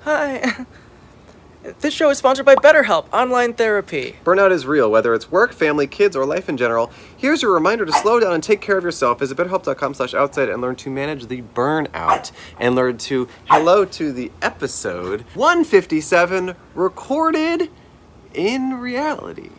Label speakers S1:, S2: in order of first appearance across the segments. S1: Hi. This show is sponsored by BetterHelp Online Therapy.
S2: Burnout is real, whether it's work, family, kids, or life in general. Here's your reminder to slow down and take care of yourself. Visit betterhelp.com slash outside and learn to manage the burnout. And learn to hello to the episode 157 recorded in reality.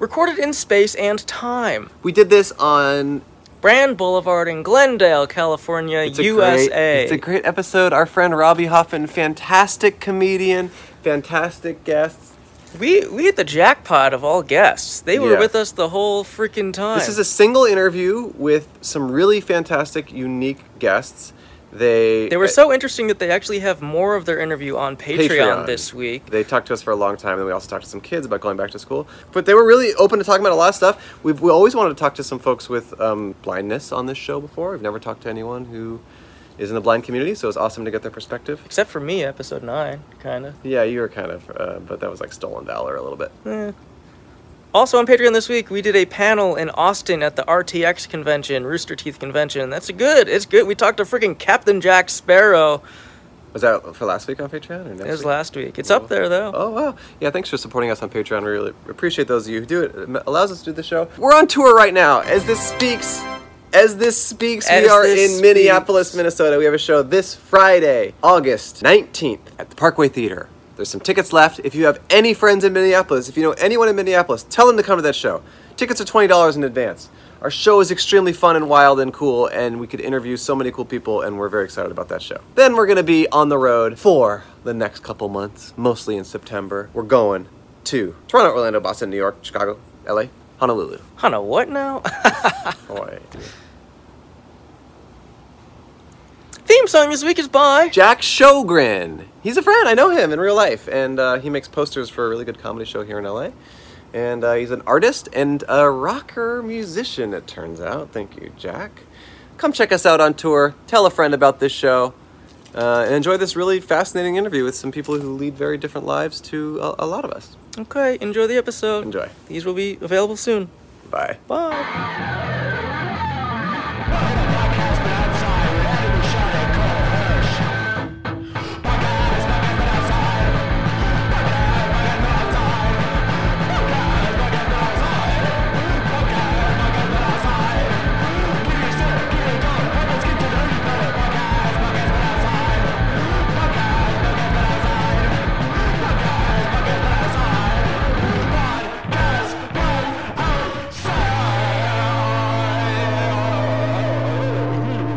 S1: Recorded in space and time.
S2: We did this on
S1: Brand Boulevard in Glendale, California,
S2: It's a
S1: USA.
S2: Great, it's a great episode. Our friend Robbie Hoffman, fantastic comedian, fantastic guests.
S1: we we hit the jackpot of all guests. They were
S2: Yeah.
S1: with us the whole freaking time.
S2: This is a single interview with some really fantastic, unique guests. They
S1: they were so interesting that they actually have more of their interview on Patreon,
S2: Patreon.
S1: this week.
S2: They talked to us for a long time, and we also talked to some kids about going back to school. But they were really open to talking about a lot of stuff. We've we always wanted to talk to some folks with um, blindness on this show before. We've never talked to anyone who is in the blind community, so it's awesome to get their perspective.
S1: Except for me, episode 9, kind of.
S2: Yeah, you were kind of, uh, but that was like stolen valor a little bit.
S1: Also on Patreon this week, we did a panel in Austin at the RTX convention, Rooster Teeth convention. That's good. It's good. We talked to freaking Captain Jack Sparrow.
S2: Was that for last week on Patreon or next
S1: It was
S2: week?
S1: last week. It's up there though.
S2: Oh wow! Yeah, thanks for supporting us on Patreon. We really appreciate those of you who do it. It allows us to do the show. We're on tour right now. As this speaks, as this speaks,
S1: As
S2: we are in
S1: this
S2: Minneapolis,
S1: speaks.
S2: Minnesota. We have a show this Friday, August nineteenth, at the Parkway Theater. There's some tickets left. If you have any friends in Minneapolis, if you know anyone in Minneapolis, tell them to come to that show. Tickets are twenty dollars in advance. Our show is extremely fun and wild and cool, and we could interview so many cool people, and we're very excited about that show. Then we're gonna be on the road for the next couple months, mostly in September. We're going to Toronto, Orlando, Boston, New York, Chicago, LA, Honolulu,
S1: Hana, what now?
S2: Hawaii.
S1: Theme song this week is by
S2: Jack Shogren. He's a friend. I know him in real life, and uh, he makes posters for a really good comedy show here in LA. And uh, he's an artist and a rocker musician. It turns out. Thank you, Jack. Come check us out on tour. Tell a friend about this show, uh, and enjoy this really fascinating interview with some people who lead very different lives to a, a lot of us.
S1: Okay, enjoy the episode.
S2: Enjoy.
S1: These will be available soon.
S2: Bye.
S1: Bye.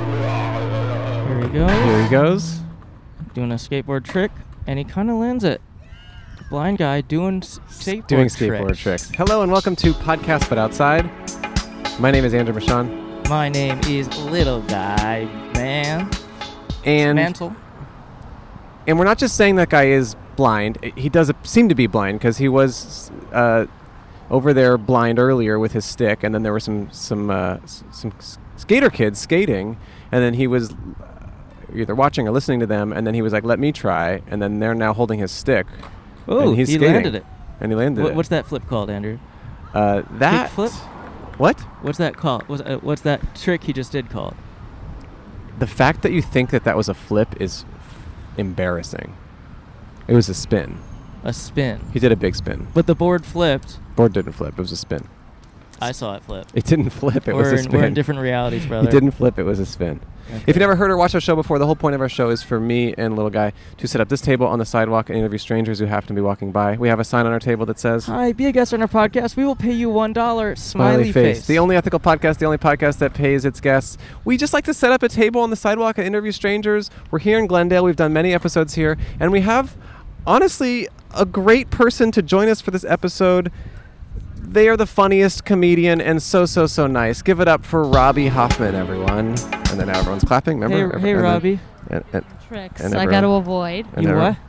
S1: Here we go.
S3: Here he goes.
S1: Doing a skateboard trick, and he kind of lands it. Blind guy doing s- skateboard
S3: Doing skateboard tricks. Hello and welcome to Podcast But Outside. My name is Andrew Michon.
S1: My name is Little Guy Man.
S3: And
S1: Mantle.
S3: and we're not just saying that guy is blind. He does seem to be blind because he was uh, over there blind earlier with his stick, and then there were some some uh, s- some s- skater kids skating, and then he was uh, either watching or listening to them, and then he was like, "Let me try," and then they're now holding his stick.
S1: Oh,
S3: and he's
S1: he
S3: skating,
S1: landed it.
S3: And he landed
S4: What,
S3: it.
S4: what's that flip called, Andrew?
S3: uh, that
S4: flip?
S3: What?
S4: What's that called? What's, uh, what's that trick he just did called?
S3: The fact that you think that that was a flip is embarrassing. It was a spin.
S4: A spin.
S3: He did a big spin.
S4: But the board flipped.
S3: Board didn't flip. It was a spin.
S4: I saw it flip.
S3: It didn't flip. It
S4: we're,
S3: was a
S4: in,
S3: spin.
S4: we're in different realities, brother.
S3: He didn't flip. It was a spin. If you
S4: Okay.
S3: never heard or watched our show before, the whole point of our show is for me and little guy to set up this table on the sidewalk and interview strangers who happen to be walking by. We have a sign on our table that says
S4: Hi, be a guest on our podcast. We will pay you one dollar. Smiley, face.
S3: The only ethical podcast, the only podcast that pays its guests. We just like to set up a table on the sidewalk and interview strangers. We're here in Glendale. We've done many episodes here, and we have, honestly, a great person to join us for this episode. They are the funniest comedian and so so so nice. Give it up for Robbie Hoffman, everyone. And then now everyone's clapping. Remember?
S4: Hey-
S3: Every-
S4: hey,
S3: and then-
S4: Robbie.
S3: and- and-
S5: tricks
S3: And
S5: I
S3: everyone-
S5: got to avoid.
S3: and
S4: You
S3: everyone-
S4: what?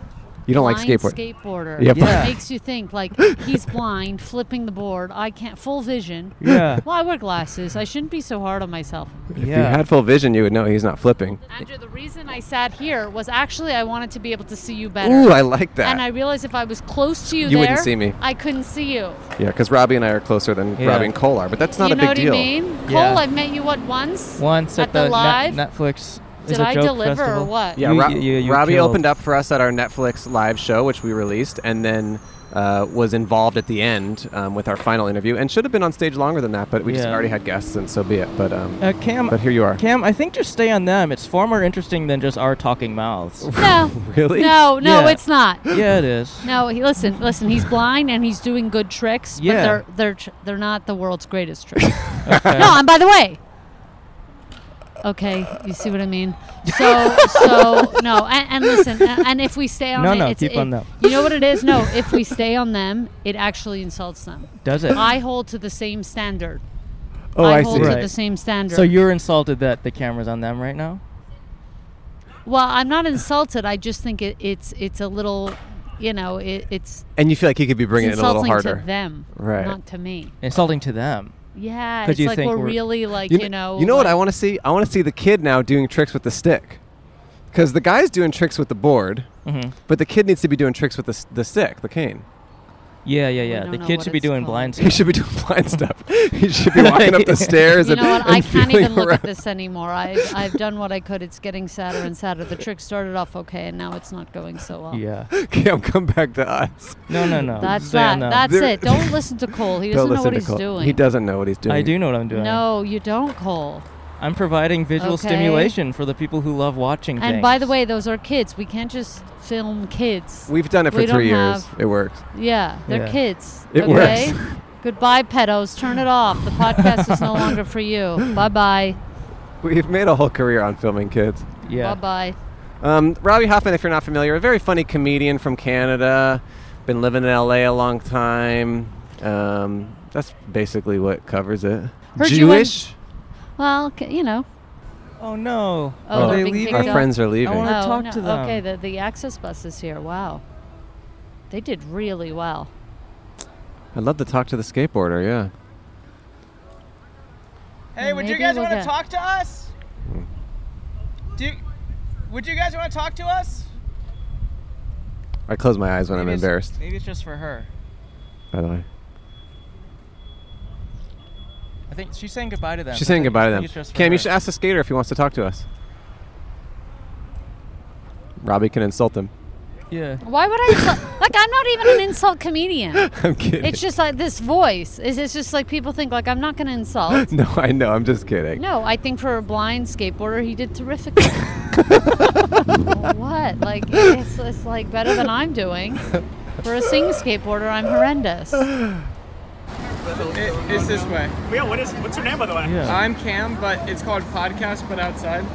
S3: You don't like
S5: Blind
S3: skateboard.
S5: skateboarder.
S3: Yep.
S4: Yeah.
S5: It makes you think like he's blind, flipping the board. I can't full vision.
S4: Yeah.
S5: Well, I wear glasses. I shouldn't be so hard on myself.
S3: if
S4: yeah.
S3: you had full vision, you would know he's not flipping.
S5: Andrew, the reason I sat here was actually I wanted to be able to see you better.
S3: Ooh, I like that.
S5: and I realized if I was close to you,
S3: You
S5: there,
S3: wouldn't see me.
S5: I couldn't see you.
S3: Yeah, because Robbie and I are closer than
S4: Yeah.
S3: Robbie and Cole are, but that's not
S5: you
S3: a
S5: know
S3: big
S5: what
S3: deal.
S5: I mean?
S4: Yeah.
S5: Cole, I've met you what once.
S4: Once
S5: At
S4: at,
S5: the
S4: Net-
S5: live?
S4: Netflix
S5: Did
S1: a
S5: I
S1: joke
S5: deliver or
S1: festival.
S5: what?
S2: Yeah,
S1: You-
S2: Ra-
S1: you- you
S2: Robbie
S1: killed.
S2: opened up for us at our Netflix live show, which we released, and then uh, was involved at the end um, with our final interview, and should have been on stage longer than that, but we just
S1: Yeah.
S2: already had guests, and so be it. But um,
S1: Uh, Cam,
S2: but here you are.
S1: Cam, I think just stay on them. It's far more interesting than just our talking mouths.
S5: No.
S2: Really?
S5: No, no,
S1: Yeah.
S5: it's not.
S1: yeah, it is.
S5: No, he, listen, listen. He's blind and he's doing good tricks,
S1: Yeah.
S5: but they're they're tr- they're not the world's greatest tricks.
S1: Okay.
S5: No, and by the way. Okay, you see what I mean. So, so no, and, and listen, a- and if we stay on
S1: No,
S5: it,
S1: no,
S5: it's,
S1: keep
S5: it-
S1: on them.
S5: You know what it is? No, if we stay on them, it actually insults them.
S1: Does it?
S5: I hold to the same standard.
S2: Oh, I, see.
S5: hold to
S1: Right.
S5: the same standard.
S1: so you're insulted that the camera's on them right now?
S5: well, I'm not insulted. I just think it, it's it's a little, you know, it, it's,
S2: And you feel like you could be bringing
S5: it's
S2: it in a little
S5: insulting
S2: harder.
S5: to them,
S2: Right.
S5: Not to me.
S1: Insulting to them.
S5: Yeah,
S1: 'Cause
S5: it's
S1: you
S5: like
S1: think
S5: we're,
S1: we're-
S5: really like you, know.
S2: You know what
S5: like-
S2: I want to see? I want to see the kid now doing tricks with the stick, because the guy's doing tricks with the board,
S1: Mm-hmm.
S2: but the kid needs to be doing tricks with the, s- the stick, the cane.
S1: Yeah, yeah,
S5: We
S1: yeah.
S5: don't
S1: The
S5: know
S1: kid
S5: what
S1: should be
S5: it's
S1: doing
S5: called.
S1: blind
S2: He
S1: stuff.
S2: should be doing blind stuff. he should be walking up the stairs.
S5: You
S2: and,
S5: know what?
S2: and
S5: I can't
S2: feeling
S5: even look
S2: around.
S5: at this anymore. I, I've done what I could. It's getting sadder and sadder. The trick started off okay, and now it's not going so well.
S1: Yeah.
S2: Cam, come back to us.
S1: No, no, no.
S5: That's
S1: Stay on
S5: that.
S1: them.
S5: That's
S2: There-
S5: it. Don't listen to Cole. He
S2: Don't
S5: doesn't know
S2: listen
S5: what
S2: to
S5: he's
S2: Cole.
S5: doing.
S2: He doesn't know what he's doing.
S1: I do know what I'm doing.
S5: No, you don't, Cole.
S1: I'm providing visual
S5: Okay.
S1: stimulation for the people who love watching things.
S5: And by the way, those are kids. We can't just film kids.
S2: We've done it for
S5: We don't
S2: three years.
S5: have-
S2: It works.
S5: yeah, they're
S1: Yeah.
S5: kids.
S2: It
S5: okay?
S2: works.
S5: Goodbye, pedos. Turn it off. The podcast is no longer for you. Bye bye.
S2: We've made a whole career on filming kids.
S1: yeah.
S5: Bye bye.
S2: Um, Robbie Hoffman, if you're not familiar, a very funny comedian from Canada. Been living in LA a long time. Um, that's basically what covers it.
S5: Heard you went-
S2: Jewish?
S5: Well, c- you know.
S1: Oh no.
S5: Oh,
S1: Are
S5: they're
S1: they
S5: being
S1: leaving?
S5: kicked
S2: Our
S5: out.
S2: friends are leaving.
S1: wanna- talk to them.
S5: Oh, Okay, the, the access bus is here. Wow. They did really well.
S2: I'd love to talk to the skateboarder, yeah.
S6: Hey, would you
S5: Maybe
S6: guys
S5: we'll
S6: want to
S5: get-
S6: talk to us?
S2: Hmm.
S6: Do you, would you guys want to talk to us?
S2: I close my eyes when I'm
S6: Maybe it's-
S2: embarrassed,
S6: Maybe it's just for her.
S2: by the way.
S6: I think she's saying goodbye to them.
S2: She's saying
S6: I think-
S2: goodbye
S6: I
S2: to
S6: think
S2: them.
S6: it's just for
S2: Cam,
S6: her.
S2: you should ask the skater if he wants to talk to us. Robbie can insult him.
S1: Yeah.
S5: Why would I? Insult? like, I'm not even an insult comedian.
S2: I'm kidding.
S5: It's just like this voice. Is it's just like people think like I'm not gonna insult.
S2: no, I know. I'm just kidding.
S5: No, I think for a blind skateboarder, he did terrifically. what? Like it's, it's like better than I'm doing. For a sing skateboarder, I'm horrendous.
S6: It, it's this way.
S7: Yeah, what is what's her name by the way?
S1: Yeah.
S6: I'm Cam, but it's called podcast, but outside.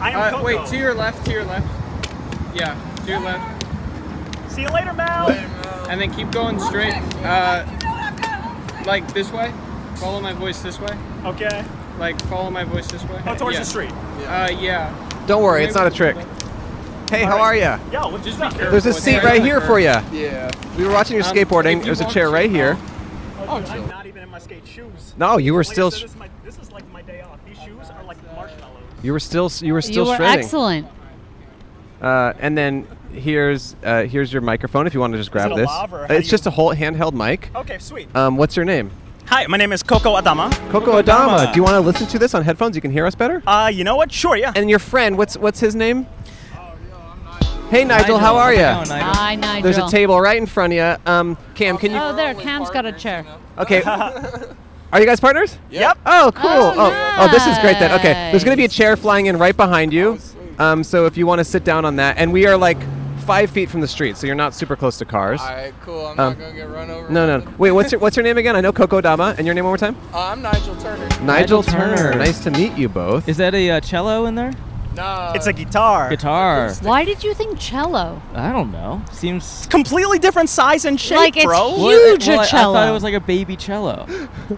S7: I am
S6: Uh,
S7: Coco.
S6: wait, to your left, to your left. Yeah, to your left,
S7: See you later, Mal.
S6: and then keep going straight. Uh, like this way. Follow my voice this way.
S7: Okay.
S6: Like follow my voice this way.
S7: Oh, towards
S6: yeah.
S7: the street.
S6: Uh, yeah.
S2: Don't worry, it's not a trick. Hey, how are ya?
S7: Yeah, well, just be careful.
S2: There's a
S6: What's
S2: seat
S6: that?
S2: right here for you.
S6: Yeah.
S2: We were watching your
S6: Um,
S2: skateboarding.
S6: if you
S2: There's a
S6: want
S2: chair
S6: to-
S2: right here.
S7: Oh, dude, I'm not even in my skate shoes.
S2: No, you were
S7: Like I
S2: still
S7: said,
S2: sh-
S7: this, is my, this is like my day off. These shoes are like marshmallows.
S2: you were still s- you were
S5: You
S2: still
S5: were
S2: shredding.
S5: excellent.
S2: Uh, and then here's uh, here's your microphone if you want to just grab
S7: it a
S2: this.
S7: lav or how do
S2: it's
S7: you-
S2: just a whole handheld mic.
S7: Okay, sweet.
S2: Um, what's your name?
S7: Hi, my name is Coco Adama.
S2: Coco Adama. Do you want to listen to this on headphones? You can hear us better.
S7: Uh, you know what? Sure, yeah.
S2: And your friend, what's what's his name? Hey Nigel, how
S1: No,
S2: are you?
S1: Nigel.
S5: Hi, Nigel.
S2: There's a table right in front of you. Um, Cam, can you?
S5: Oh, there. Cam's got a chair.
S2: Okay. Are you guys partners?
S7: Yep.
S2: Oh, cool.
S5: Oh,
S2: oh, this is great then. Okay. There's going to be a
S5: nice.
S2: chair flying in right behind you. Um, so if you want to sit down on that, and we are like five feet from the street, so you're not super close to cars.
S8: Alright, cool. I'm
S2: Um,
S8: not gonna get run over.
S2: No, no. no. Wait, what's your what's your name again? I know Coco Dama, and your name one more time?
S8: Uh, I'm Nigel Turner.
S2: Nigel,
S1: Nigel
S2: Turner.
S1: Turner.
S2: Nice to meet you both.
S1: Is that a uh, cello in there?
S8: Nah.
S7: It's a guitar.
S1: Guitar.
S5: Why did you think cello?
S1: I don't know. Seems.
S7: Completely different size and shape,
S5: Like, it's
S7: bro.
S5: huge. Huge
S1: well, I-
S5: cello.
S1: I thought it was like a baby cello.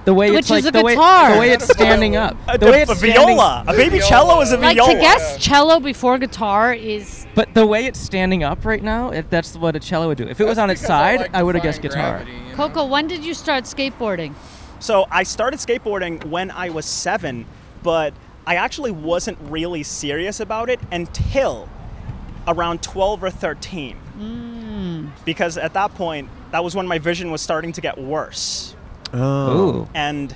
S1: The way
S5: Which
S1: it's like
S5: is a
S1: the way
S5: guitar.
S1: the way it's standing up.
S7: A,
S1: The way
S7: a
S1: it's standing-
S7: viola. A baby cello is a
S5: Like
S7: viola.
S5: to guess cello before guitar is
S1: But the way it's standing up right now, it, that's what a cello would do. If it was on its side, I would have guessed guitar.
S5: Coco. When did you start skateboarding?
S7: So I started skateboarding when I was seven, but I actually wasn't really serious about it until around 12 or 13.
S5: Hmm.
S7: Because at that point, that was when my vision was starting to get worse.
S2: Oh.
S1: Ooh.
S7: And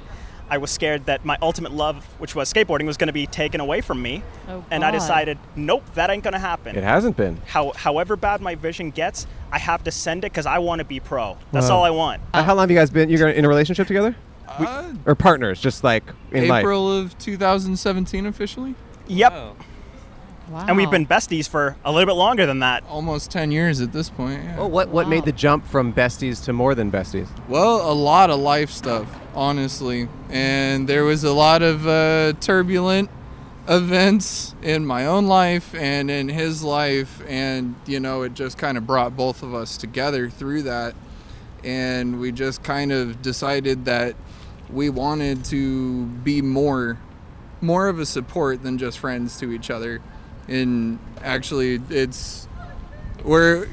S7: I was scared that my ultimate love, which was skateboarding, was going to be taken away from me.
S5: Oh,
S7: and I
S5: God.
S7: decided, nope, that ain't going to happen.
S2: It hasn't been.
S7: How, however bad my vision gets, I have to send it because I want to be pro. That's
S2: Wow.
S7: all I want.
S2: Uh, how long have you guys been? You're in a relationship together,
S8: Uh,
S2: or partners? Just like in life.
S8: April of 2017 officially.
S7: Yep.
S1: Oh.
S5: Wow.
S7: And we've been besties for a little bit longer than that.
S8: Almost 10 years at this point. yeah.
S2: Oh, what what
S5: Wow.
S2: made the jump from besties to more than besties?
S8: Well, a lot of life stuff, honestly. And there was a lot of uh, turbulent events in my own life and in his life. And, you know, it just kind of brought both of us together through that. And we just kind of decided that we wanted to be more, more of a support than just friends to each other. And actually, it's, we're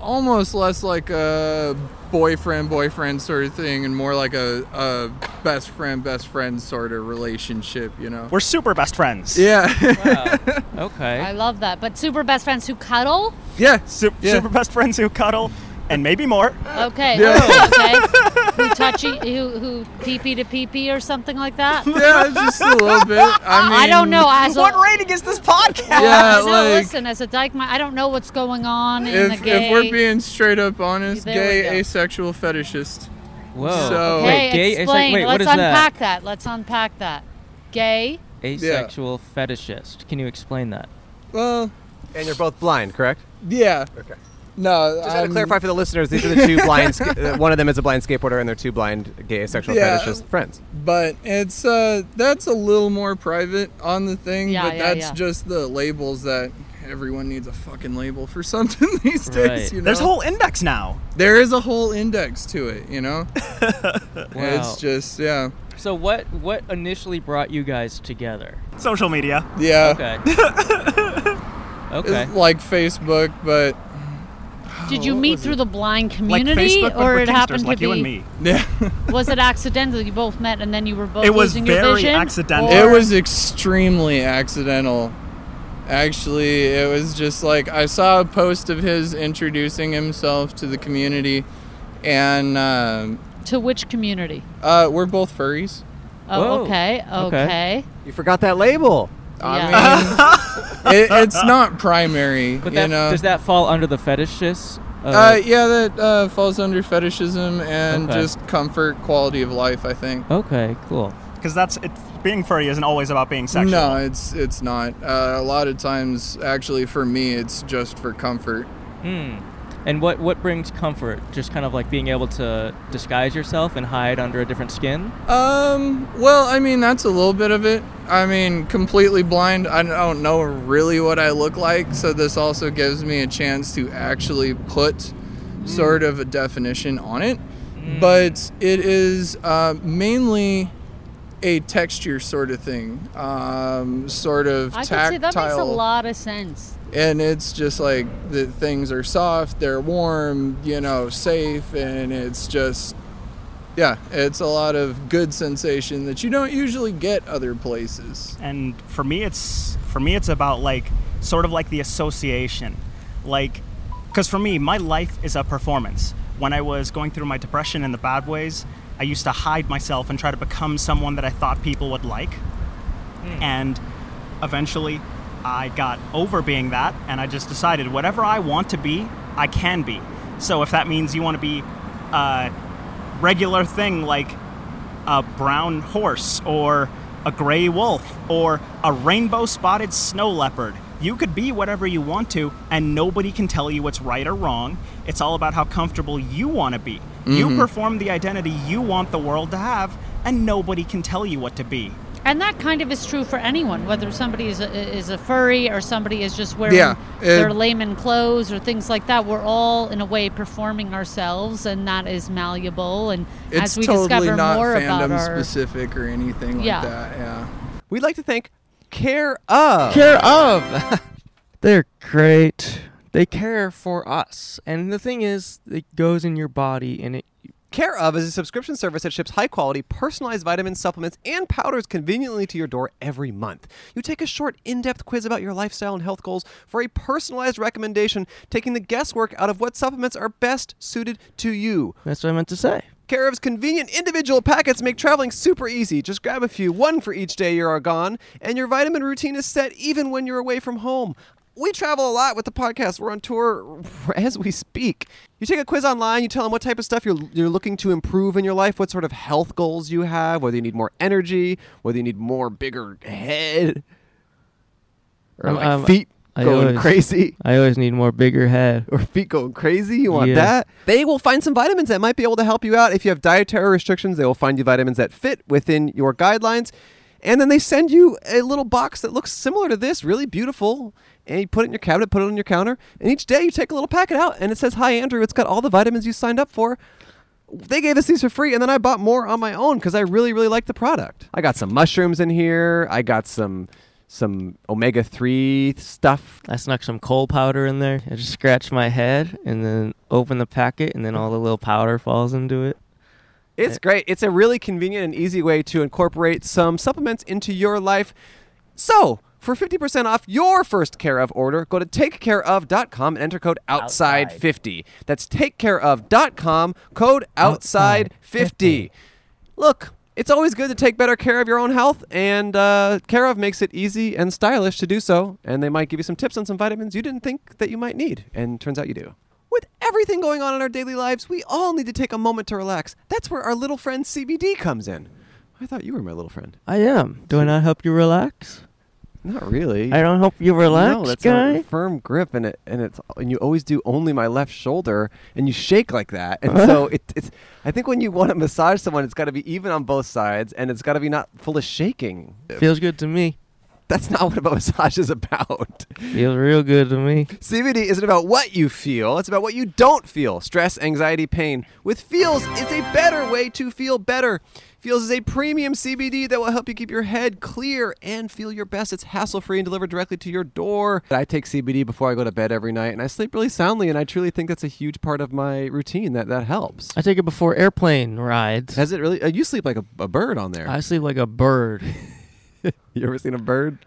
S8: almost less like a boyfriend boyfriend sort of thing and more like a, a best friend best friend sort of relationship you know
S7: We're super best friends.
S8: yeah
S1: Wow. okay.
S5: I love that. But super best friends who cuddle.
S8: yeah
S7: Su-
S8: Yeah.
S7: Super best friends who cuddle and maybe more.
S5: Okay.
S8: Yeah.
S5: Okay. okay. who touchy? Who who pee pee to pee pee or something like that?
S8: yeah just a little bit i mean
S5: I don't know. As a,
S7: What rating is this podcast?
S8: yeah
S5: no,
S8: like
S5: listen, as a dyke, I don't know what's going on in the
S8: if,
S5: gay.
S8: if we're being straight up honest
S5: There we go.
S8: gay asexual fetishist
S1: Whoa.
S8: So-
S5: hey,
S1: wait, gay ase-
S5: explain.
S1: wait, what
S5: Let's
S1: is
S5: unpack that? Let's unpack that. Gay.
S1: that? Asexual fetishist. Can you explain that?
S8: well
S2: And you're both blind, correct?
S8: yeah
S2: Okay.
S8: no
S2: Just to clarify for the listeners, these are the two blind. Ska- uh, one of them is a blind skateboarder, and they're two blind gay sexual
S8: Yeah.
S2: fetishist friends.
S8: but it's uh that's a little more private on the thing
S5: Yeah,
S8: but
S5: yeah,
S8: that's
S5: yeah.
S8: just the labels that everyone needs a fucking label for something these days
S1: Right.
S8: you know
S7: There's a whole index now.
S8: there is a whole index to it you know
S1: Wow.
S8: it's just yeah
S1: so what what initially brought you guys together?
S7: Social media.
S8: yeah
S1: Okay.
S8: It's
S1: okay.
S8: like facebook but
S5: Did
S8: Oh,
S5: you
S8: what
S5: meet
S8: was
S5: through
S8: it?
S5: the blind community,
S7: like Facebook, but
S5: or
S7: we're
S5: it
S7: kingsters,
S5: happened
S7: like
S5: to
S7: you
S5: be?
S7: and me.
S8: yeah
S5: Was it accidental? You both met and then you were both
S7: It was
S5: losing your
S7: very
S5: vision.
S7: accidental.
S8: it
S5: Or-
S8: was extremely accidental actually it was just like i saw a post of his introducing himself to the community and um,
S5: to which community?
S8: uh, we're both furries
S5: Oh,
S1: Whoa.
S5: okay,
S1: Okay.
S5: okay.
S2: You forgot that label.
S8: I mean, it, it's not primary,
S1: But
S8: you
S1: that,
S8: know.
S1: does that fall under the fetishist?
S8: uh, yeah, that uh, falls under fetishism and
S1: Okay.
S8: just comfort, quality of life. I think.
S1: okay. Cool.
S7: Because that's it's, being furry isn't always about being sexual.
S8: No, it's it's not. Uh, a lot of times, actually, for me, it's just for comfort.
S1: Hmm. And what what brings comfort? Just kind of like being able to disguise yourself and hide under a different skin.
S8: Um, well, I mean, that's a little bit of it. I mean, completely blind. I don't know really what I look like, so this also gives me a chance to actually put
S5: Mm.
S8: sort of a definition on it. But it is uh, mainly a texture sort of thing, um, sort of
S5: I
S8: tactile
S5: can see that makes a lot of sense.
S8: and it's just like the things are soft, they're warm, you know, safe, and it's just yeah, it's a lot of good sensation that you don't usually get other places.
S7: and for me it's for me it's about like sort of like the association like because for me my life is a performance when i was going through my depression in the bad ways i used to hide myself and try to become someone that i thought people would like and eventually i got over being that and i just decided whatever i want to be i can be so if that means you want to be a regular thing like a brown horse or a gray wolf or a rainbow spotted snow leopard. You could be whatever you want to, and nobody can tell you what's right or wrong. It's all about how comfortable you want to be. You perform the identity you want the world to have, and nobody can tell you what to be.
S5: And that kind of is true for anyone, whether somebody is a, is a furry or somebody is just wearing
S8: Yeah,
S5: their
S8: it-
S5: layman clothes or things like that. We're all, in a way, performing ourselves, and that is malleable. And
S8: It's
S5: as we
S8: totally
S5: discover
S8: not
S5: more about
S8: fandom
S5: our
S8: specific or anything
S5: Yeah.
S8: like that. Yeah.
S2: We'd like to thank Care of.
S1: Care of. They're great. They care for us. And the thing is, it goes in your body and it.
S2: Care of is a subscription service that ships high quality, personalized vitamins, supplements, and powders conveniently to your door every month. You take a short, in depth quiz about your lifestyle and health goals for a personalized recommendation, taking the guesswork out of what supplements are best suited to you.
S1: That's what I meant to say.
S2: Carav's convenient individual packets make traveling super easy. Just grab a few, one for each day you are gone, and your vitamin routine is set even when you're away from home. We travel a lot with the podcast. We're on tour as we speak. You take a quiz online, you tell them what type of stuff you're, you're looking to improve in your life, what sort of health goals you have, whether you need more energy, whether you need more bigger head, or
S1: Um,
S2: like
S1: um,
S2: feet
S1: I
S2: going
S1: always-
S2: crazy
S1: I always need more bigger head.
S2: or feet going crazy, you want
S1: Yeah.
S2: that? They will find some vitamins that might be able to help you out. If you have dietary restrictions, they will find you vitamins that fit within your guidelines. And then they send you a little box that looks similar to this, really beautiful. And you put it in your cabinet, put it on your counter. And each day you take a little packet out and it says, Hi, Andrew, it's got all the vitamins you signed up for. They gave us these for free, and then I bought more on my own because I really, really liked the product. I got some mushrooms in here. I got some some omega three stuff
S1: I snuck some coal powder in there. I just scratched my head and then open the packet, and then all the little powder falls into it.
S2: It's great. It's a really convenient and easy way to incorporate some supplements into your life. So, for 50% off your first Care of order, go to takecareof.com and enter code OUTSIDE50. That's takecareof.com, code OUTSIDE50. Look, it's always good to take better care of your own health, and uh, Care of makes it easy and stylish to do so. And they might give you some tips on some vitamins you didn't think that you might need, and turns out you do. With everything going on in our daily lives, we all need to take a moment to relax. That's where our little friend CBD comes in. I thought you were my little friend.
S1: I am. Do I not help you relax?
S2: Not really.
S1: I don't help you relax,
S2: No, that's
S1: guy.
S2: a firm grip, and it and it's and you always do only my left shoulder, and you shake like that, and so it, it's. I think when you want to massage someone, it's got to be even on both sides, and it's got to be not full of shaking.
S1: Feels good to me.
S2: That's not what a massage is about.
S1: Feels real good to me.
S2: CBD isn't about what you feel, it's about what you don't feel. Stress, anxiety, pain. With Feels, it's a better way to feel better. Feels is a premium CBD that will help you keep your head clear and feel your best. It's hassle free and delivered directly to your door. I take CBD before I go to bed every night and I sleep really soundly, and I truly think that's a huge part of my routine that that helps.
S1: I take it before airplane rides.
S2: Has it really? Uh, you sleep like a, a bird on there.
S1: I sleep like a bird.
S2: you ever seen a bird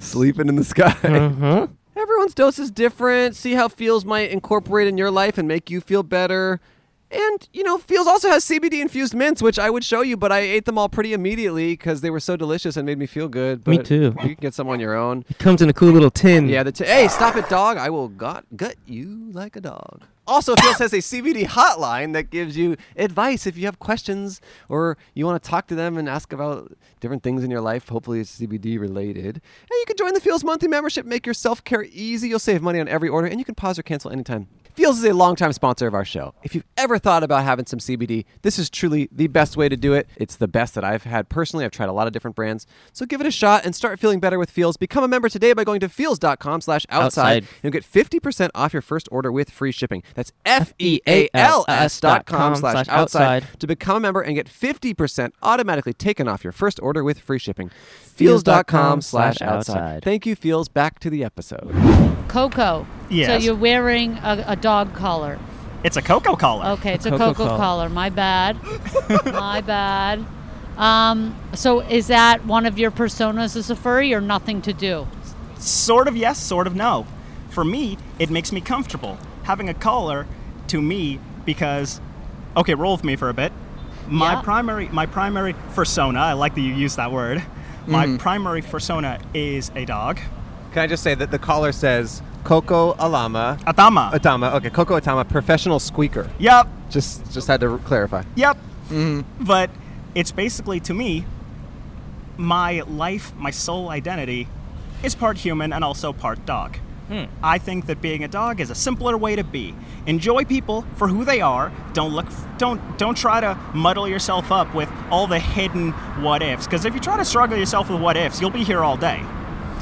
S2: sleeping in the sky?
S1: uh-huh.
S2: Everyone's dose is different. See how feels might incorporate in your life and make you feel better. And, you know, Feels also has CBD infused mints, which I would show you, but I ate them all pretty immediately because they were so delicious and made me feel good.
S1: Me
S2: But
S1: too.
S2: You can get some on your own.
S1: It comes in a cool little tin.
S2: Yeah, the t- hey, stop it, dog. I will got gut you like a dog. Also, Feels has a CBD hotline that gives you advice if you have questions or you want to talk to them and ask about different things in your life. Hopefully, it's CBD related. And you can join the Feels monthly membership, make your self care easy. You'll save money on every order, and you can pause or cancel anytime. Feels is a longtime sponsor of our show. If you've ever thought about having some CBD, this is truly the best way to do it. It's the best that I've had personally. I've tried a lot of different brands. So give it a shot and start feeling better with Feels. Become a member today by going to feels.com slash outside.
S1: Outside.
S2: You'll get 50% off your first order with free shipping. That's E F-E-A-L-S dot com slash outside to become a member and get 50% automatically taken off your first order with free shipping. Feels.com slash outside. Thank you, Feels. Back to the episode.
S5: Coco. So
S7: Yes.
S5: you're wearing a, a dog collar.
S7: It's a cocoa collar.
S5: Okay, it's a
S1: Coco
S5: Coco,
S1: collar.
S5: collar. My bad. My bad. Um, so is that one of your personas as a furry or nothing to do?
S7: Sort of yes, sort of no. For me, it makes me comfortable. Having a collar to me because okay, roll with me for a bit. My
S5: Yeah.
S7: primary my primary persona, I like that you use that word. My primary persona is a dog.
S9: Can I just say that the caller says Coco Alama
S7: Atama.
S9: Atama? Okay, Coco Atama, professional squeaker.
S7: yep.
S9: Just just had to clarify.
S7: Yep. But it's basically to me, my life, my sole identity, is part human and also part dog. I think that being a dog is a simpler way to be. Enjoy people for who they are. Don't look. Don't don't try to muddle yourself up with all the hidden what ifs. Because if you try to struggle yourself with what ifs, you'll be here all day.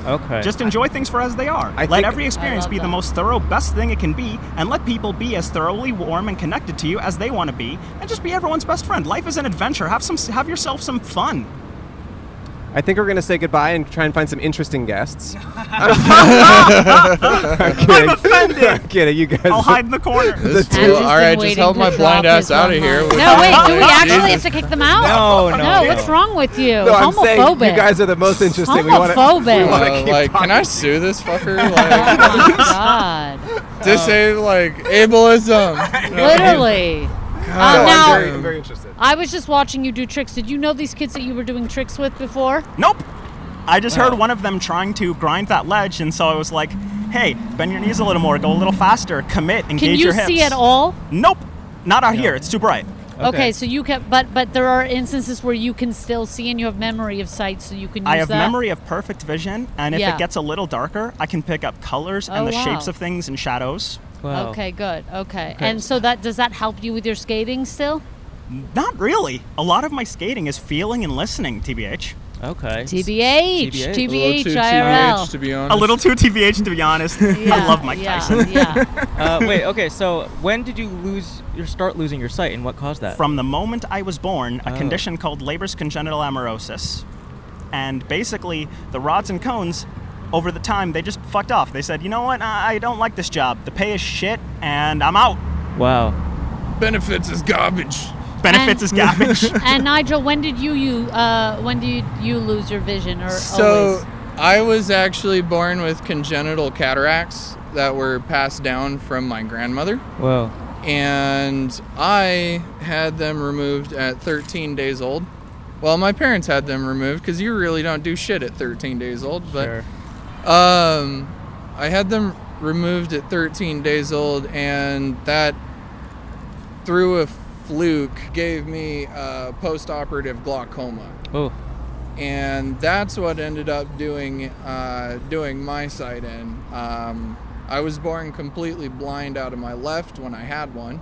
S1: Okay.
S7: Just enjoy things for as they are.
S9: I
S7: let
S9: think-
S7: every experience
S5: love
S7: be the
S5: that.
S7: most thorough, best thing it can be, and let people be as thoroughly warm and connected to you as they want to be, and just be everyone's best friend. Life is an adventure. Have some, have yourself some fun.
S9: I think we're gonna say goodbye and try and find some interesting guests. I'm kidding. I'm offended. I'm kidding. You guys.
S7: I'll hide in the corner.
S5: Andrew's
S8: This too. All
S5: been
S8: right, just
S5: waiting
S8: help
S5: to
S8: my
S5: drop
S8: blind ass
S5: his
S8: out
S5: one
S8: of here.
S5: line.
S8: with
S5: No,
S8: my
S5: wait. Do we
S8: Jesus.
S5: actually have to kick them out?
S8: No, no, no.
S5: what's wrong with you?
S9: No, I'm
S5: Homophobic.
S9: saying you guys are the most interesting. We wanna-
S5: Homophobic.
S9: We want to
S8: Uh,
S9: keep
S8: like,
S9: talking.
S8: can I sue this fucker?
S5: oh
S8: Like,
S5: my god.
S8: disable like ableism.
S5: Literally. Um, now,
S8: very-
S6: I'm very interested.
S5: I was just watching you do tricks. Did you know these kids that you were doing tricks with before?
S7: Nope. I just heard one of them trying to grind that ledge, and so I was like, hey, bend your knees a little more, go a little faster, commit, engage
S5: Can you
S7: your hips.
S5: see at all?
S7: Nope. Not out here. It's too bright.
S5: Okay. so you can, but but there are instances where you can still see and you have memory of sight, so you can. Use
S7: I have
S5: that.
S7: memory of perfect vision, and if
S5: Yeah.
S7: it gets a little darker, I can pick up colors and
S5: Oh,
S7: the shapes
S5: wow.
S7: of things and shadows.
S1: Wow.
S5: Okay, good. Okay. and so that does that help you with your skating still?
S7: Not really. A lot of my skating is feeling and listening, TBH.
S1: Okay.
S5: TBH,
S1: TBH.
S8: A little
S5: TBH,
S8: too
S5: IRL.
S8: TBH, to be honest.
S7: A little too TBH, to be honest. I love Mike
S5: yeah,
S7: Tyson.
S5: Yeah.
S1: uh, wait. Okay. So when did you lose your start losing your sight, and what caused that?
S7: From the moment I was born, a
S1: Oh.
S7: condition called Labor's congenital amaurosis. And basically, the rods and cones, over the time, they just fucked off. They said, you know what, I I don't like this job. The pay is shit, and I'm out.
S1: wow.
S8: benefits is garbage.
S7: Benefits is garbage.
S5: and Nigel, when did you you uh, when did you lose your vision or
S8: So
S5: always?
S8: I was actually born with congenital cataracts that were passed down from my grandmother.
S1: Whoa.
S8: and I had them removed at 13 days old. Well, my parents had them removed because you really don't do shit at 13 days old. But
S1: Sure.
S8: um, I had them removed at 13 days old, and that through a fluke gave me uh, post-operative glaucoma
S1: Oh.
S8: and that's what ended up doing uh, doing my sight in. Um, I was born completely blind out of my left when I had one,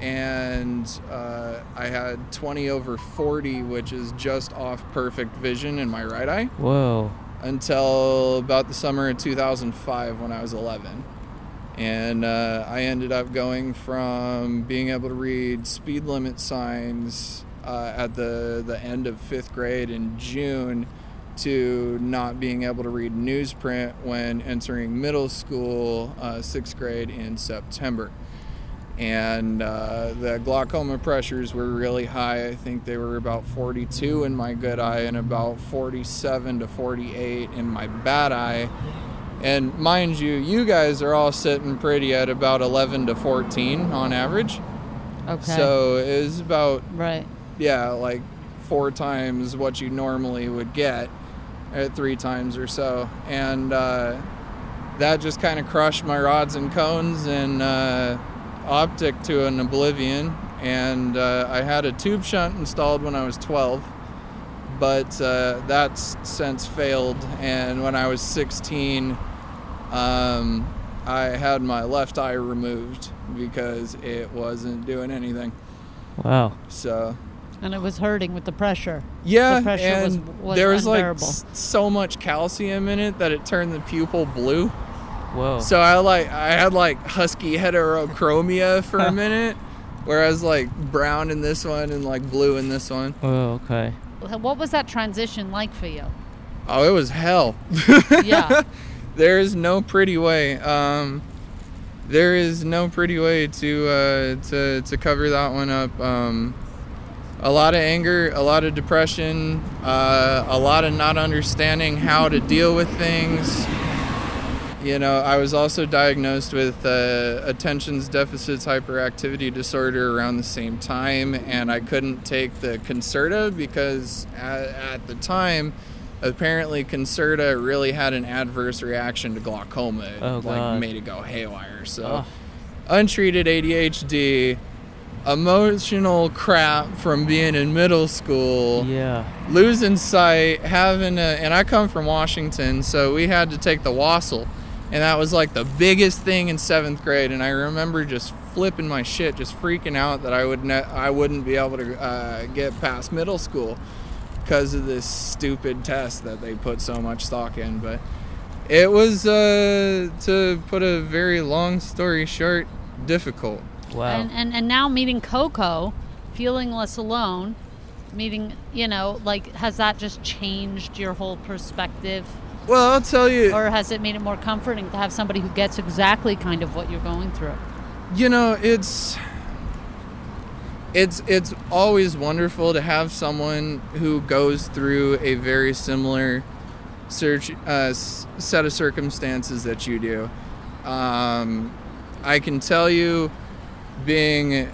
S8: and uh, I had 20 over 40, which is just off perfect vision in my right eye,
S1: Whoa.
S8: until about the summer of 2005 when I was 11. And uh, I ended up going from being able to read speed limit signs uh, at the, the end of fifth grade in June to not being able to read newsprint when entering middle school, uh, sixth grade in September. And uh, the glaucoma pressures were really high. I think they were about 42 in my good eye and about 47 to 48 in my bad eye. And mind you, you guys are all sitting pretty at about 11 to 14 on average.
S5: okay.
S8: So it was about,
S5: right.
S8: yeah, like four times what you normally would get, at three times or so. And uh, that just kind of crushed my rods and cones and uh, optic to an oblivion. And uh, I had a tube shunt installed when I was 12 but uh, that's since failed. And when I was 16, um, I had my left eye removed because it wasn't doing anything.
S1: Wow.
S8: So
S5: And it was hurting with the pressure.
S8: yeah,
S5: The pressure was-
S8: and
S5: was
S8: there was
S5: unbearable.
S8: like s- so much calcium in it that it turned the pupil blue.
S5: Oh.
S1: Whoa.
S8: So I like I had like husky heterochromia for a minute, whereas like brown in this one and like blue in this one.
S1: Whoa. Okay.
S5: What was that transition like for you?
S8: Oh, it was hell.
S5: Yeah.
S8: there is no pretty way. Um, there is no pretty way to uh, to to cover that one up. Um, a lot of anger, a lot of depression, uh, a lot of not understanding how to deal with things. You know, I was also diagnosed with uh, attention's deficits hyperactivity disorder around the same time, and I couldn't take the Concerta because at, at the time, apparently Concerta really had an adverse reaction to glaucoma. It,
S1: Oh,
S8: like
S1: God.
S8: made it go haywire. So,
S1: Ugh.
S8: untreated ADHD, emotional crap from being in middle school
S1: Yeah.
S8: losing sight, having a, and I come from Washington, so we had to take the wassail, and that was like the biggest thing in seventh grade. And I remember just flipping my shit, just freaking out that I would ne- I wouldn't be able to uh, get past middle school because of this stupid test that they put so much stock in. But it was uh, to put a very long story short, difficult.
S1: Wow.
S5: and, and and now meeting Coco, feeling less alone, meeting you know like has that just changed your whole perspective,
S8: Well, I'll tell you.
S5: or has it made it more comforting to have somebody who gets exactly kind of what you're going through?
S8: you know it's it's it's always wonderful to have someone who goes through a very similar search uh, s- set of circumstances that you do um, i can tell you being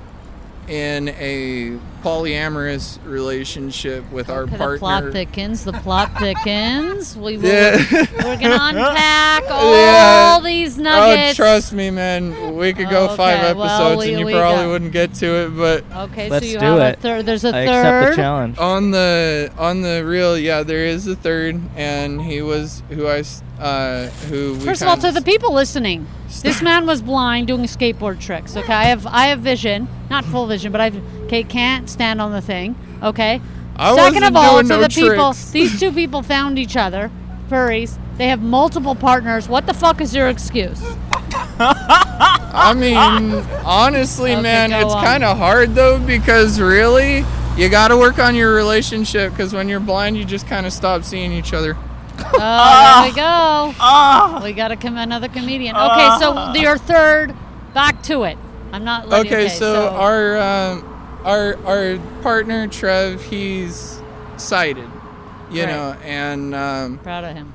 S8: in a polyamorous relationship with our
S5: Okay,
S8: partner.
S5: The plot thickens. The plot thickens. We will.
S8: Yeah.
S5: We're gonna unpack all
S8: Yeah.
S5: these
S8: Oh,
S5: nuggets. Oh,
S8: trust me, man. We could go five
S5: Okay,
S8: episodes
S5: well, we-
S8: and you
S5: we
S8: probably
S5: got-
S8: wouldn't get to it, but
S5: Okay,
S1: Let's
S5: so you
S1: do
S5: have
S1: it.
S5: a third. There's a
S1: I accept the
S5: third.
S1: challenge.
S8: on the on the real, yeah, there is a third, and he was who I s- uh, who we
S5: First of all,
S8: kinda
S5: to the
S8: s-
S5: people listening, this man was blind doing skateboard tricks. Okay, I have I have vision, not full vision, but I okay can't stand on the thing. Okay.
S8: I
S5: Second
S8: wasn't
S5: of all,
S8: doing
S5: to
S8: no
S5: the people,
S8: tricks.
S5: these two people found each other, furries. They have multiple partners. What the fuck is your excuse?
S8: I mean, honestly,
S5: Ah! Okay,
S8: man,
S5: go
S8: it's
S5: on.
S8: kind of hard though because really, you got to work on your relationship because when you're blind, you just kind of stop seeing each other.
S5: Oh,
S8: Ah.
S5: there we go. We got to come another comedian. Okay, so your third, back to it. I'm not. Letting,
S8: Ah. okay, so, our um, our our partner Trev, he's sighted, you
S5: Right.
S8: know, and um,
S5: proud of him.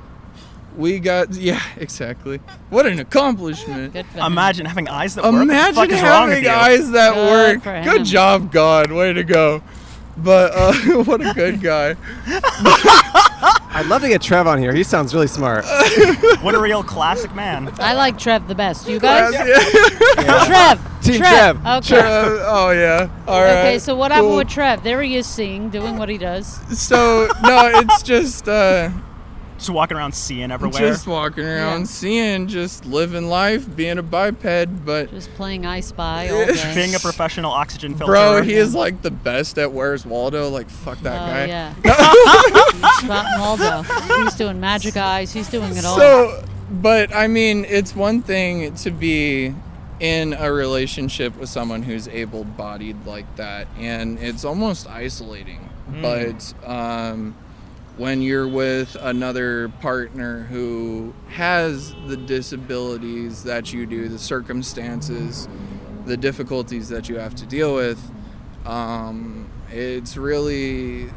S8: we got yeah, exactly. What an accomplishment!
S5: Good. For him.
S7: Imagine having eyes that work. What the
S8: Imagine
S7: fuck is wrong with
S8: having
S7: you?
S8: eyes that
S5: Good
S8: work.
S5: for him.
S8: Good job, God. Way to go. But uh, what a good guy.
S2: I'd love to get Trev on here. He sounds really smart.
S7: What a real classic man.
S5: I like Trev the best. You guys,
S8: Yeah.
S5: Trev.
S2: Team Trev.
S5: Okay.
S8: Trev. Oh yeah. All right.
S5: Okay, so what happened
S8: cool.
S5: with Trev? There he is, seeing, doing what he does.
S8: So no, it's just uh,
S7: Just walking around seeing everywhere.
S8: just walking around,
S5: Yeah.
S8: seeing, just living life, being a biped. But
S5: Just playing I Spy all
S8: Yeah.
S5: day. Oh,
S7: being a professional oxygen filter.
S8: bro, he is like the best at Where's Waldo. Like fuck that
S5: Oh
S8: guy.
S5: yeah. Spot Waldo. He's doing magic eyes. He's doing it all.
S8: So, but I mean, it's one thing to be in a relationship with someone who's able-bodied like that, and it's almost isolating. But um, when you're with another partner who has the disabilities that you do, the circumstances, the difficulties that you have to deal with, um, it's really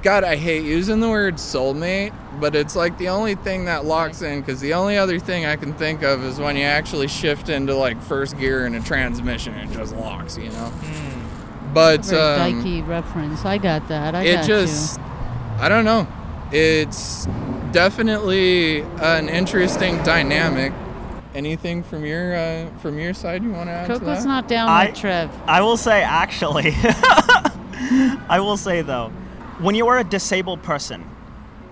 S8: God, I hate using the word soulmate, but it's like the only thing that locks in because the only other thing I can think of is when you actually shift into like first gear in a transmission and it just locks, you know? But
S5: Hmm. Very
S8: um,
S5: dykey reference. I got that. I
S8: it
S5: got
S8: just, I don't know. It's definitely an interesting dynamic. Anything from your uh, from your side you want to add
S5: you.
S8: to that?
S5: Coco's not down
S7: I-
S5: with Trev.
S7: I will say, actually, I will say though, when you are a disabled person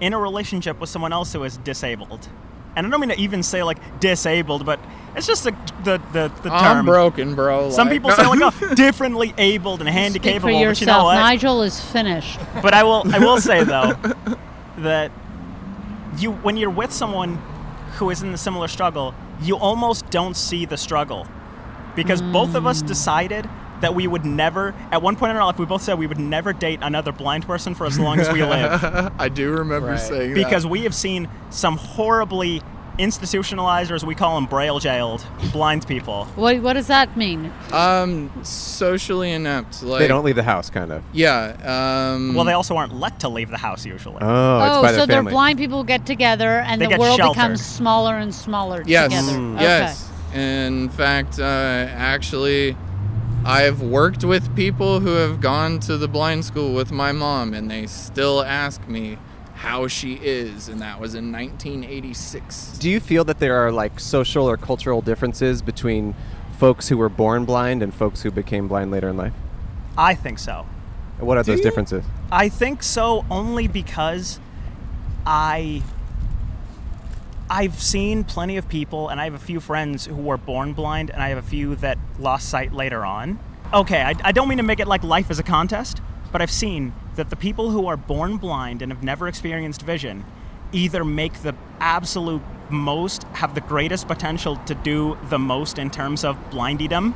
S7: in a relationship with someone else who is disabled, and I don't mean to even say like disabled, but it's just the the the, the
S8: I'm
S7: term.
S8: broken, bro.
S7: Some
S8: like-
S7: people say like oh, differently abled and
S5: Speak
S7: handicapped,
S5: for
S7: but
S5: yourself.
S7: you know what?
S5: Nigel is finished.
S7: but I will I will say though that you when you're with someone who is in a similar struggle, you almost don't see the struggle because both of us decided that we would never at one point in our life we both said we would never date another blind person for as long as we live
S8: I do remember
S9: Right.
S8: saying that.
S7: because we have seen some horribly institutionalized or as we call them braille jailed blind people
S5: What, what does that mean?
S8: um socially inept like
S2: they don't leave the house, kind of.
S8: Yeah. Um,
S7: well they also aren't let to leave the house usually
S2: Oh, it's
S5: oh,
S2: by
S5: so
S2: their
S5: they're
S2: family.
S5: blind people get together and
S7: They
S5: the
S7: get
S5: world
S7: sheltered.
S5: becomes smaller and smaller
S8: yes, Mm,
S5: together. Okay.
S8: yes. In fact, uh, actually, I've worked with people who have gone to the blind school with my mom, and they still ask me how she is, and that was in 1986.
S2: Do you feel that there are like social or cultural differences between folks who were born blind and folks who became blind later in life?
S7: i think so
S2: And What are those differences?
S7: I think so only because I I've seen plenty of people and I have a few friends who were born blind and I have a few that lost sight later on. Okay, I, I don't mean to make it like life is a contest, but I've seen that the people who are born blind and have never experienced vision either make the absolute most, have the greatest potential to do the most in terms of blindiedom,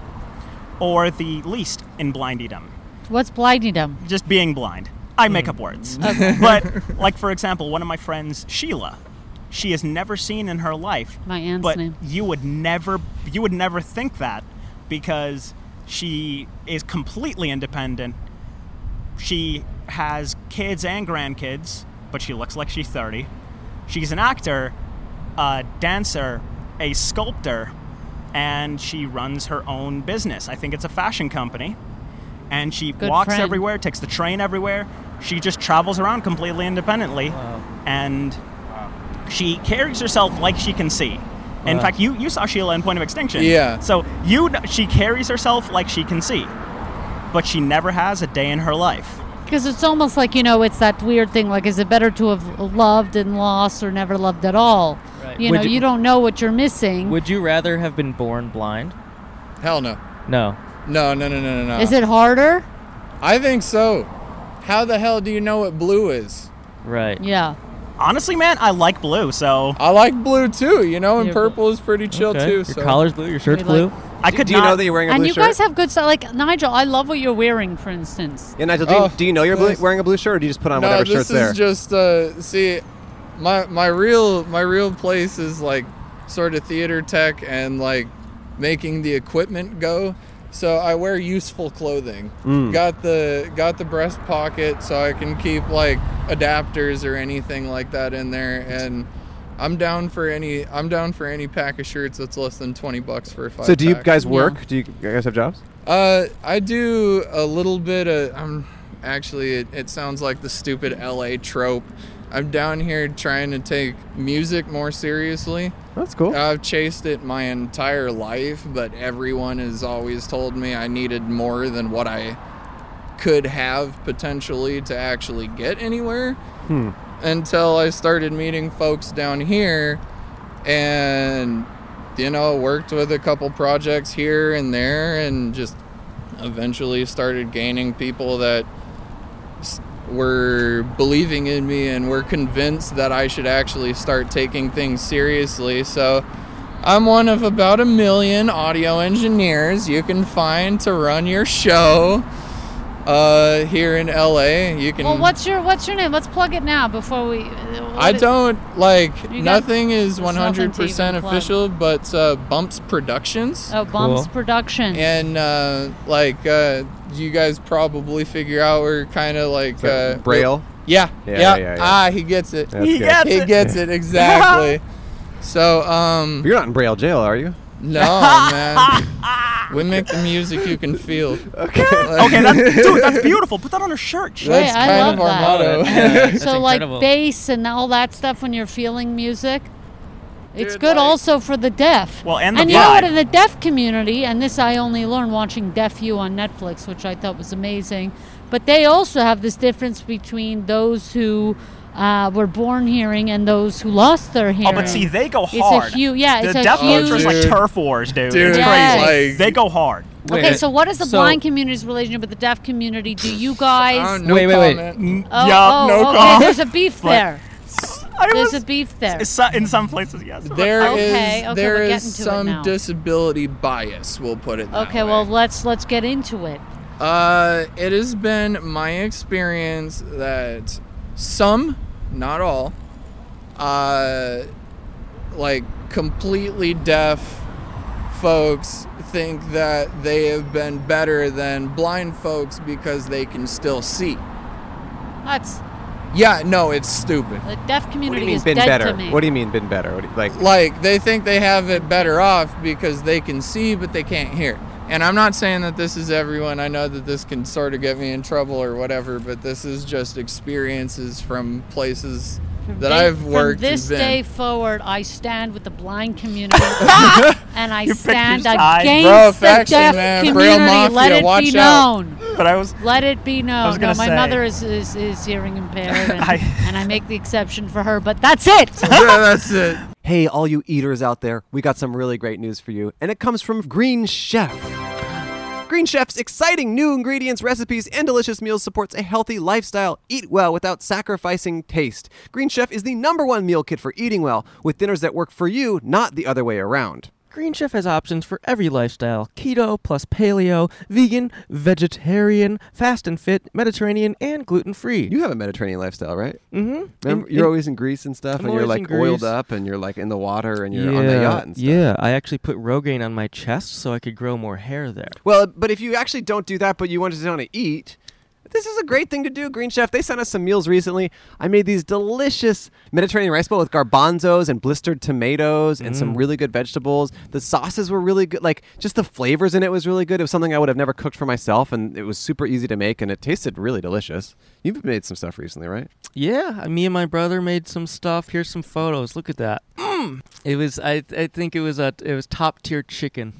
S7: or the least in blindiedom
S5: What's blinding them?
S7: just being blind. I make up words.
S5: Hmm.
S7: but, like, for example, one of my friends, Sheila, she has never seen in her life.
S5: My aunt's
S7: but
S5: name.
S7: You would never, you would never think that because she is completely independent. She has kids and grandkids, but she looks like she's 30. She's an actor, a dancer, a sculptor, and she runs her own business. I think it's a fashion company. And she
S5: Good
S7: walks
S5: friend.
S7: everywhere, takes the train everywhere. She just travels around completely independently. And she carries herself like she can see. In
S9: Uh-huh.
S7: fact, you, you saw Sheila in Point of Extinction.
S8: Yeah.
S7: So you kn- she carries herself like she can see, but she never has a day in her life.
S5: Because it's almost like, you know, it's that weird thing like, is it better to have loved and lost or never loved at all?
S1: Right.
S5: You
S1: Would
S5: know,
S1: you-
S5: you, don't know what you're missing.
S1: Would you rather have been born blind?
S8: Hell no.
S1: No.
S8: No, no, no, no, no, no.
S5: is it harder?
S8: I think so. How the hell do you know what blue is?
S1: Right.
S5: Yeah.
S7: Honestly, man, I like blue, so
S8: I like blue too, you know, and
S1: Yeah, but-
S8: purple is pretty chill
S1: Okay.
S8: too.
S1: Your
S8: so.
S1: collar's blue. Your shirt's
S5: We
S1: blue.
S5: like-
S7: I could
S9: do
S7: not.
S9: you know that you're wearing a
S5: And
S9: blue
S5: you
S9: shirt?
S5: guys have good stuff. Like, Nigel, I love what you're wearing, for instance.
S9: yeah, Nigel, do,
S8: Oh,
S9: you, do you know you're blue,
S8: thanks.
S9: wearing a blue shirt, or do you just put on
S8: no,
S9: whatever
S8: this is
S9: shirt's there?
S8: just uh, see, my my real my real place is like sort of theater tech and like making the equipment go. So I wear useful clothing.
S9: Mm.
S8: Got the got the breast pocket, so I can keep like adapters or anything like that in there. And I'm down for any I'm down for any pack of shirts that's less than twenty bucks for a five.
S9: so do you
S8: pack.
S9: guys work? Do you guys have jobs?
S8: Uh, I do a little bit of. I'm actually. It, it sounds like the stupid LA trope. I'm down here trying to take music more seriously.
S9: Oh,
S2: That's cool.
S8: I've chased it my entire life, but everyone has always told me I needed more than what I could have potentially to actually get anywhere. Until I started meeting folks down here and, you know, worked with a couple projects here and there and just eventually started gaining people that s- were believing in me and were convinced that I should actually start taking things seriously. So I'm one of about a million audio engineers you can find to run your show uh, here in LA. You can.
S5: Well, what's your what's your name? Let's plug it now before we. uh,
S8: I don't like
S5: You got-
S8: nothing is
S5: there's nothing to
S8: 100%
S5: even plug.
S8: official, but uh, Bumps Productions.
S5: Oh, Bumps
S1: Cool.
S5: Productions.
S8: And uh, like uh, you guys probably figure out we're kind of like uh,
S9: Braille.
S8: Yeah,
S9: Yeah,
S8: yeah,
S9: yeah, yeah.
S8: Ah, he gets it.
S9: That's
S7: He
S9: good.
S7: gets
S8: He
S7: it.
S8: gets it exactly. so, um,
S9: But You're not in Braille jail, are you?
S8: no, man. We make the music you can feel. Okay.
S7: Okay, that's, dude, that's beautiful. Put that on her shirt. Sh-
S8: That's
S5: Hey, I
S8: kind
S5: love
S8: of our
S5: that.
S8: motto.
S5: so like bass and all that stuff when you're feeling music. It's
S8: Dude,
S5: good
S8: like-
S5: also for the deaf.
S7: Well, and the
S5: you know what?
S7: vibe.
S5: In the deaf community, and this I only learned watching Deaf You on Netflix, which I thought was amazing. But they also have this difference between those who uh, were born hearing and those who lost their hearing.
S7: oh, but see, they go
S5: a
S7: hard.
S5: huge- yeah, it's
S7: the
S5: a
S7: deaf
S5: huge-
S7: culture is like
S8: Dude.
S7: turf wars, dude.
S8: Dude,
S7: It's
S5: Yes.
S7: crazy.
S8: like-
S7: they go hard.
S5: okay,
S1: Wait.
S5: so what is the
S1: So-
S5: blind community's relationship with the deaf community? Do you
S8: Ah,
S5: guys?
S8: no
S1: Wait, wait, wait.
S8: comment.
S5: Oh,
S7: yeah,
S5: oh,
S7: no
S5: okay,
S7: comment.
S5: There's a beef there.
S7: I
S5: There's
S7: was,
S5: a beef there.
S7: in some- in some places, yes.
S8: There is
S5: Okay, okay,
S8: there
S5: we're
S8: is
S5: getting to it now.
S8: some disability bias. We'll put it. That
S5: Okay,
S8: way.
S5: well let's let's get into it.
S8: Uh, it has been my experience that some, not all, uh, like completely deaf folks think that they have been better than blind folks because they can still see.
S5: That's
S8: Yeah, no, it's stupid.
S5: the deaf
S9: What do
S5: community
S9: you mean
S5: is
S9: been
S5: dead
S9: better?
S5: to me.
S9: What do you mean been better? What do you, like
S8: Like they think they have it better off because they can see but they can't hear. And I'm not saying that this is everyone. I know that this can sort of get me in trouble or whatever, but this is just experiences from places that
S5: Day-
S8: I've
S5: from
S8: worked
S5: this
S8: and been.
S5: day forward, I stand with the blind community, and I
S7: You picked your
S5: stand
S7: side.
S5: against
S8: Bro,
S5: the
S8: faction,
S5: deaf
S8: man. Braille
S5: community. Let
S8: mafia,
S5: it
S8: watch
S5: be
S8: out.
S5: known.
S7: But I was
S5: Let it be known. No,
S7: gonna
S5: my
S7: say.
S5: mother is, is, is hearing impaired, and,
S7: I-
S5: and I make the exception for her. But that's it.
S8: yeah, that's it.
S9: Hey, all you eaters out there, we got some really great news for you, and it comes from Green Chef. Green Chef's exciting new ingredients, recipes, and delicious meals supports a healthy lifestyle. Eat well without sacrificing taste. Green Chef is the number one meal kit for eating well, with dinners that work for you, not the other way around.
S1: Green Chef has options for every lifestyle keto plus paleo, vegan, vegetarian, fast and fit, Mediterranean, and gluten free.
S9: You have a Mediterranean lifestyle, right?
S1: Mm-hmm.
S9: Remember, you're always in Greece and stuff,
S1: I'm
S9: and you're
S1: always in
S9: like oiled
S1: Greece.
S9: up, and you're like in the water, and
S1: yeah,
S9: you're on the yacht and stuff.
S1: Yeah, I actually put Rogaine on my chest so I could grow more hair there.
S9: Well, but if you actually don't do that, but you want to want to eat,
S2: This is a great thing to do, Green Chef. They sent us some meals recently. I made these delicious Mediterranean rice bowl with garbanzos and blistered tomatoes and some really good vegetables. The sauces were really good. Like, just the flavors in it was really good. It was something I would have never cooked for myself, and it was super easy to make, and it tasted really delicious. You've made some stuff recently, right?
S1: Yeah, uh, me and my brother made some stuff. Here's some photos. Look at that. Mm. It was I I think it was a it was top tier chicken.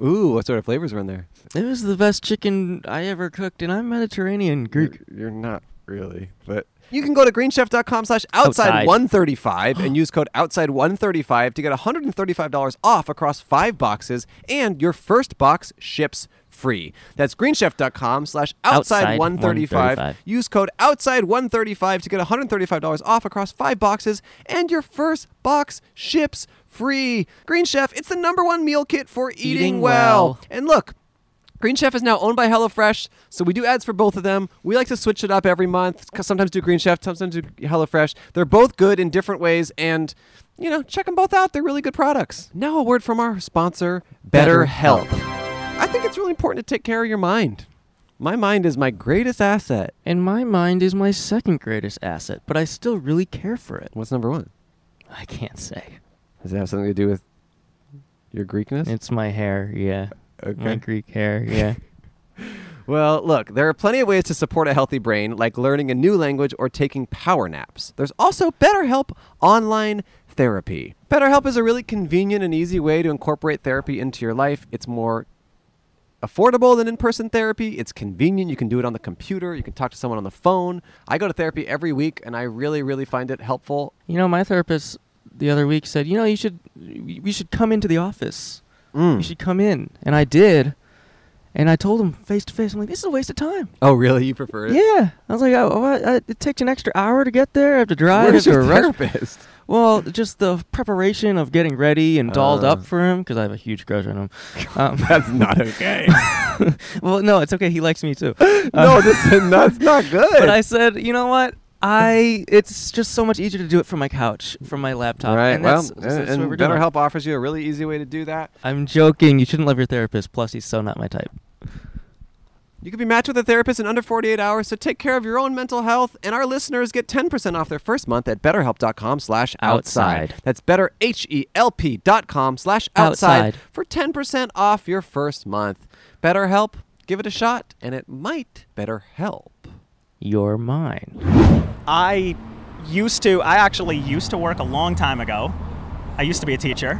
S2: Ooh, what sort of flavors were in there?
S1: It was the best chicken I ever cooked, and I'm Mediterranean Greek.
S2: You're, you're not really, but you can go to greenchef.com slash outside
S1: Outside.
S2: 135 and use code outside 135 to get $135 off across five boxes and your first box ships free. That's greenchef.com slash outside
S1: Outside
S2: 135.
S1: 135.
S2: Use code outside 135 to get $135 off across five boxes and your first box ships free. Green Chef, it's the number one meal kit for eating,
S1: Eating
S2: well.
S1: well.
S2: And look, Green Chef is now owned by HelloFresh, so we do ads for both of them. We like to switch it up every month. 'cause Sometimes do Green Chef, sometimes do HelloFresh. They're both good in different ways, and you know, check them both out. They're really good products. Now, a word from our sponsor, BetterHelp. I think it's really important to take care of your mind. My mind is my greatest asset.
S1: And my mind is my second greatest asset, but I still really care for it.
S2: What's number one?
S1: I can't say.
S2: Does it have something to do with your Greekness?
S1: It's my hair, yeah. My Greek hair, yeah.
S2: Well, look, there are plenty of ways to support a healthy brain, like learning a new language or taking power naps. There's also BetterHelp online therapy. BetterHelp is a really convenient and easy way to incorporate therapy into your life. It's more affordable than in-person therapy. It's convenient. You can do it on the computer. You can talk to someone on the phone. I go to therapy every week, and I really, really find it helpful.
S1: you know, my therapist the other week said, you know, you should we should come into the office.
S2: Mm. Hmm.
S1: You should come in. And I did. And I told him face to face, I'm like, this is a waste of time.
S2: Oh, really? You prefer it?
S1: Yeah. I was like, oh, oh, I, I, it takes an extra hour to get there. I have to drive. I
S2: Where's
S1: have to
S2: your
S1: rush."
S2: therapist?
S1: Well, just the preparation of getting ready and dolled
S2: Uh.
S1: up for him because I have a huge crush on him. Um,
S2: That's not okay.
S1: well, no, it's okay. He likes me too.
S2: no, this, that's not good.
S1: But I said, you know what? I it's just so much easier to do it from my couch, from my laptop.
S2: Right.
S1: And
S2: well,
S1: that's,
S2: and,
S1: that's what
S2: and
S1: we're doing.
S2: BetterHelp offers you a really easy way to do that.
S1: I'm joking. You shouldn't love your therapist. Plus, he's so not my type.
S2: You can be matched with a therapist in under 48 hours, so take care of your own mental health. And our listeners get 10% off their first month at betterhelp.com slash outside.
S1: Outside.
S2: That's better, H-E-L-P dot com slash outside
S1: Outside.
S2: for 10% off your first month. BetterHelp, give it a shot, and it might better help.
S1: You're mine.
S7: I used to, I actually used to work a long time ago. I used to be a teacher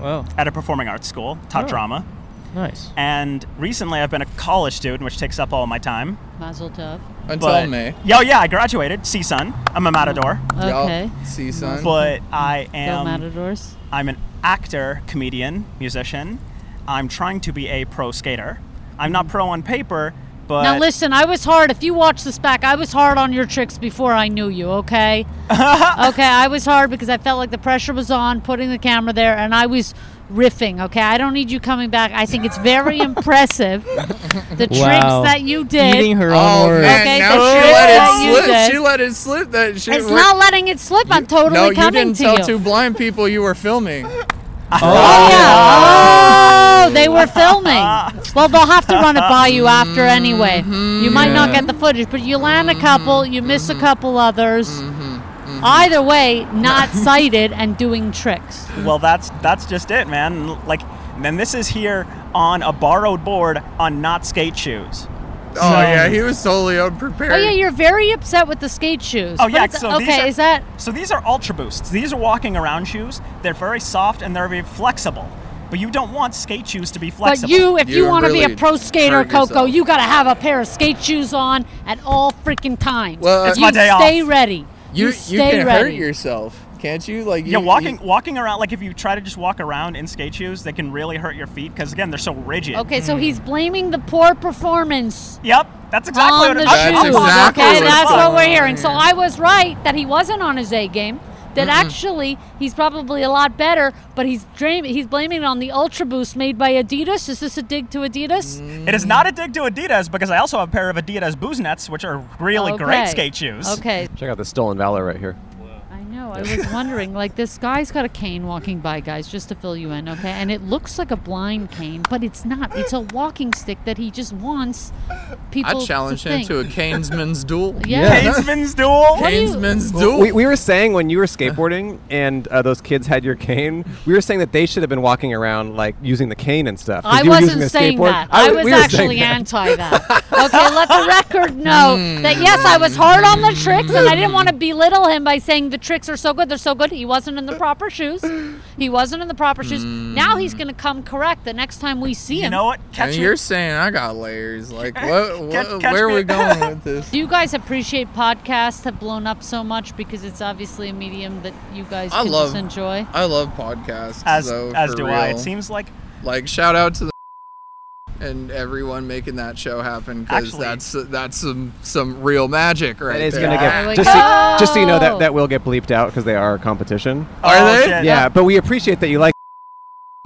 S1: Wow.
S7: at a performing arts school, taught
S1: Oh.
S7: drama.
S1: Nice.
S7: And recently I've been a college student, which takes up all my time.
S5: Mazel tov.
S8: Until
S7: but-
S8: May.
S7: Yeah, oh, yeah, I graduated, CSUN. I'm a matador.
S5: Okay.
S8: Y'all see, son.
S5: Mm-hmm.
S7: But I
S5: Go
S7: am,
S5: Matadors.
S7: I'm an actor, comedian, musician. I'm trying to be a pro skater. I'm not pro on paper, but
S5: Mm-hmm. Now listen, I was hard. If you watch this back, I was hard on your tricks before I knew you. Okay. okay, I was hard because I felt like the pressure was on putting the camera there, and I was riffing. Okay, I don't need you coming back. I think it's very impressive the
S1: Wow.
S5: tricks that you did.
S1: Eating her own
S8: Oh
S1: words.
S8: man!
S5: Okay,
S8: now
S5: so
S8: she
S5: shit that you
S8: let it
S5: did.
S8: slip. She let it slip. That shit.
S5: It's not letting it slip. I'm totally
S8: no, you
S5: coming
S8: didn't
S5: to
S8: tell
S5: you.
S8: two blind people you were filming.
S5: Oh, yeah. Oh, they were filming. Well, they'll have to run it by you after anyway.
S7: Mm-hmm.
S5: You might not
S8: Yeah.
S5: get the footage, but you land a couple, you miss a couple others.
S7: Mm-hmm.
S5: Either way, not sighted and doing tricks.
S7: Well, that's that's just it, man. Like, and this is here on a borrowed board on not skate shoes.
S8: Oh yeah, he was totally unprepared.
S5: Oh yeah, you're very upset with the skate shoes.
S7: Oh
S5: But
S7: yeah,
S5: it's-
S7: so
S5: okay,
S7: these are,
S5: is that
S7: so? These are Ultra Boosts. These are walking around shoes. They're very soft and they're very flexible. But you don't want skate shoes to be flexible.
S5: But you, if you,
S8: You
S5: want to be
S8: really
S5: a pro skater,
S8: hurt
S5: Coco,
S8: yourself.
S5: you got to have a pair of skate shoes on at all freaking times.
S8: Well, It's
S5: you
S7: uh, my day off.
S5: stay ready.
S8: you, you
S5: stay
S8: can
S5: ready.
S8: hurt yourself, can't you? Like you,
S7: yeah,
S8: you-
S7: walking walking around like if you try to just walk around in skate shoes, they can really hurt your feet because again, they're so rigid.
S5: Okay, so he's blaming the poor performance
S7: Yep, that's exactly
S5: on
S7: what
S5: the
S7: it
S8: That's
S5: shoes.
S8: exactly
S5: okay,
S8: what it's
S5: that's what
S8: called.
S5: we're hearing. So I was right that he wasn't on his A game. That actually he's probably a lot better, but he's dream- he's blaming it on the Ultra Boost made by Adidas. Is this a dig to Adidas?
S8: Mm.
S7: It is not a dig to Adidas because I also have a pair of Adidas Booze Nets, which are really great
S5: Okay.
S7: skate shoes.
S5: Okay,
S2: Check out the Stolen Valor right here.
S5: I know. know. I was wondering. Like this guy's got a cane walking by, guys, just to fill you in, okay? And it looks like a blind cane, but it's not. It's a walking stick that he just wants people.
S8: I challenge
S5: to
S8: him
S5: think.
S8: to a Canesman's duel.
S5: Yeah.
S7: Kingsman's duel?
S5: do you-
S8: Canesman's duel.
S2: We, we were saying when you were skateboarding and uh, those kids had your cane, we were saying that they should have been walking around like using the cane and stuff. 'cause
S5: I
S2: you were using
S5: wasn't
S2: the
S5: saying
S2: skateboard.
S5: that. I,
S2: w-
S5: was
S2: we were saying
S5: actually
S2: that. Hmm.
S5: anti that. Okay, let the record know that yes, I was hard on the tricks, and I didn't want to belittle him by saying the tricks are so good. They're so good. He wasn't in the proper shoes. He wasn't in the proper shoes.
S2: Hmm.
S5: Now he's going to come correct the next time we see him.
S7: You know what?
S8: and
S7: Catch me.
S8: you're saying I got layers. Like what? what
S7: Catch- catch
S8: where are
S7: me-
S8: we going with this?
S5: Do you guys appreciate podcasts have blown up so much because it's obviously a medium that you guys
S8: I
S5: can
S8: love-
S5: just enjoy?
S8: I love podcasts.
S7: As,
S8: though,
S7: as
S8: for
S7: do I.
S8: real.
S7: It seems like
S8: like shout out to the and everyone making that show happen because
S7: Actually-
S8: that's that's some some real magic right
S2: That is
S8: there.
S2: gonna
S5: There we
S2: get just so,
S5: go.
S2: just so you know
S5: "Oh."
S2: that that will get bleeped out because they are a competition.
S8: Are
S7: Oh,
S8: they?
S7: shit.
S2: Yeah, but we appreciate that you like.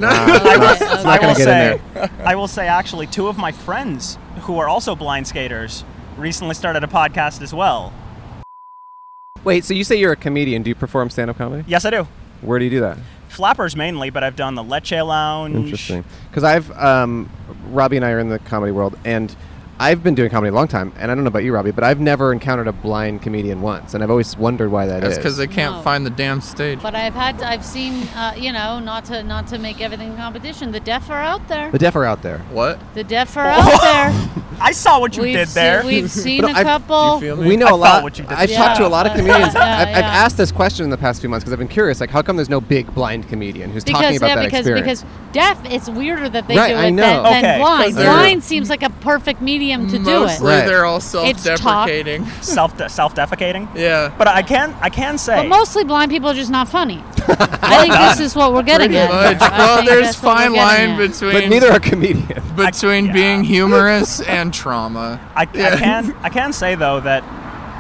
S5: Okay,
S2: it's
S5: okay.
S2: not
S7: I
S2: gonna
S7: will
S2: get in
S7: say, I will say, actually, two of my friends who are also blind skaters recently started a podcast as well.
S2: Wait, so you say you're a comedian? Do you perform stand-up comedy?
S7: Yes, I do.
S2: Where do you do that?
S7: Flappers mainly, but I've done the Leche Lounge.
S2: Interesting. Because I've um, Robbie and I are in the comedy world, and I've been doing comedy a long time. And I don't know about you, Robbie, but I've never encountered a blind comedian once, and I've always wondered why that
S8: that's
S2: is.
S8: because they can't
S5: No.
S8: find the damn stage
S5: But I've had, I've seen, uh, you know, not to not to make everything a competition. The deaf are out there.
S2: the deaf are out there.
S8: what
S5: The deaf are out there.
S7: I saw what you
S5: we've
S7: did
S5: seen,
S7: there.
S5: We've seen
S2: But
S5: a
S2: I've-
S5: couple.
S8: do you feel me
S2: We know
S7: I
S2: a lot.
S7: felt what you did
S2: I've
S5: there.
S2: talked to a
S5: Yeah,
S2: lot of
S5: I-
S2: comedians.
S5: yeah,
S2: I've, I've
S5: yeah.
S2: asked this question in the past few months because I've been curious. Like, how come there's no big blind comedian who's talking
S5: because
S2: about
S5: yeah,
S2: that
S5: because
S2: experience?
S5: because deaf, it's weirder that they
S2: Right,
S5: do it
S2: I know.
S5: than, than
S7: Okay, 'cause
S5: blind.
S8: they're-
S5: Blind seems like a perfect medium to do it.
S8: mostly
S2: Right.
S8: they're all self-deprecating
S7: Self self defecating.
S8: yeah
S7: But I can I can say
S5: But mostly blind people are just not funny. I think this is what we're getting
S8: pretty
S5: at.
S8: much
S5: I
S8: well
S5: think
S8: there's
S5: that's what
S8: fine
S5: we're getting
S8: line
S5: at.
S8: between
S2: but neither are comedians.
S8: between
S7: I-
S8: being
S7: yeah.
S8: humorous and trauma
S7: I, I can I can say though that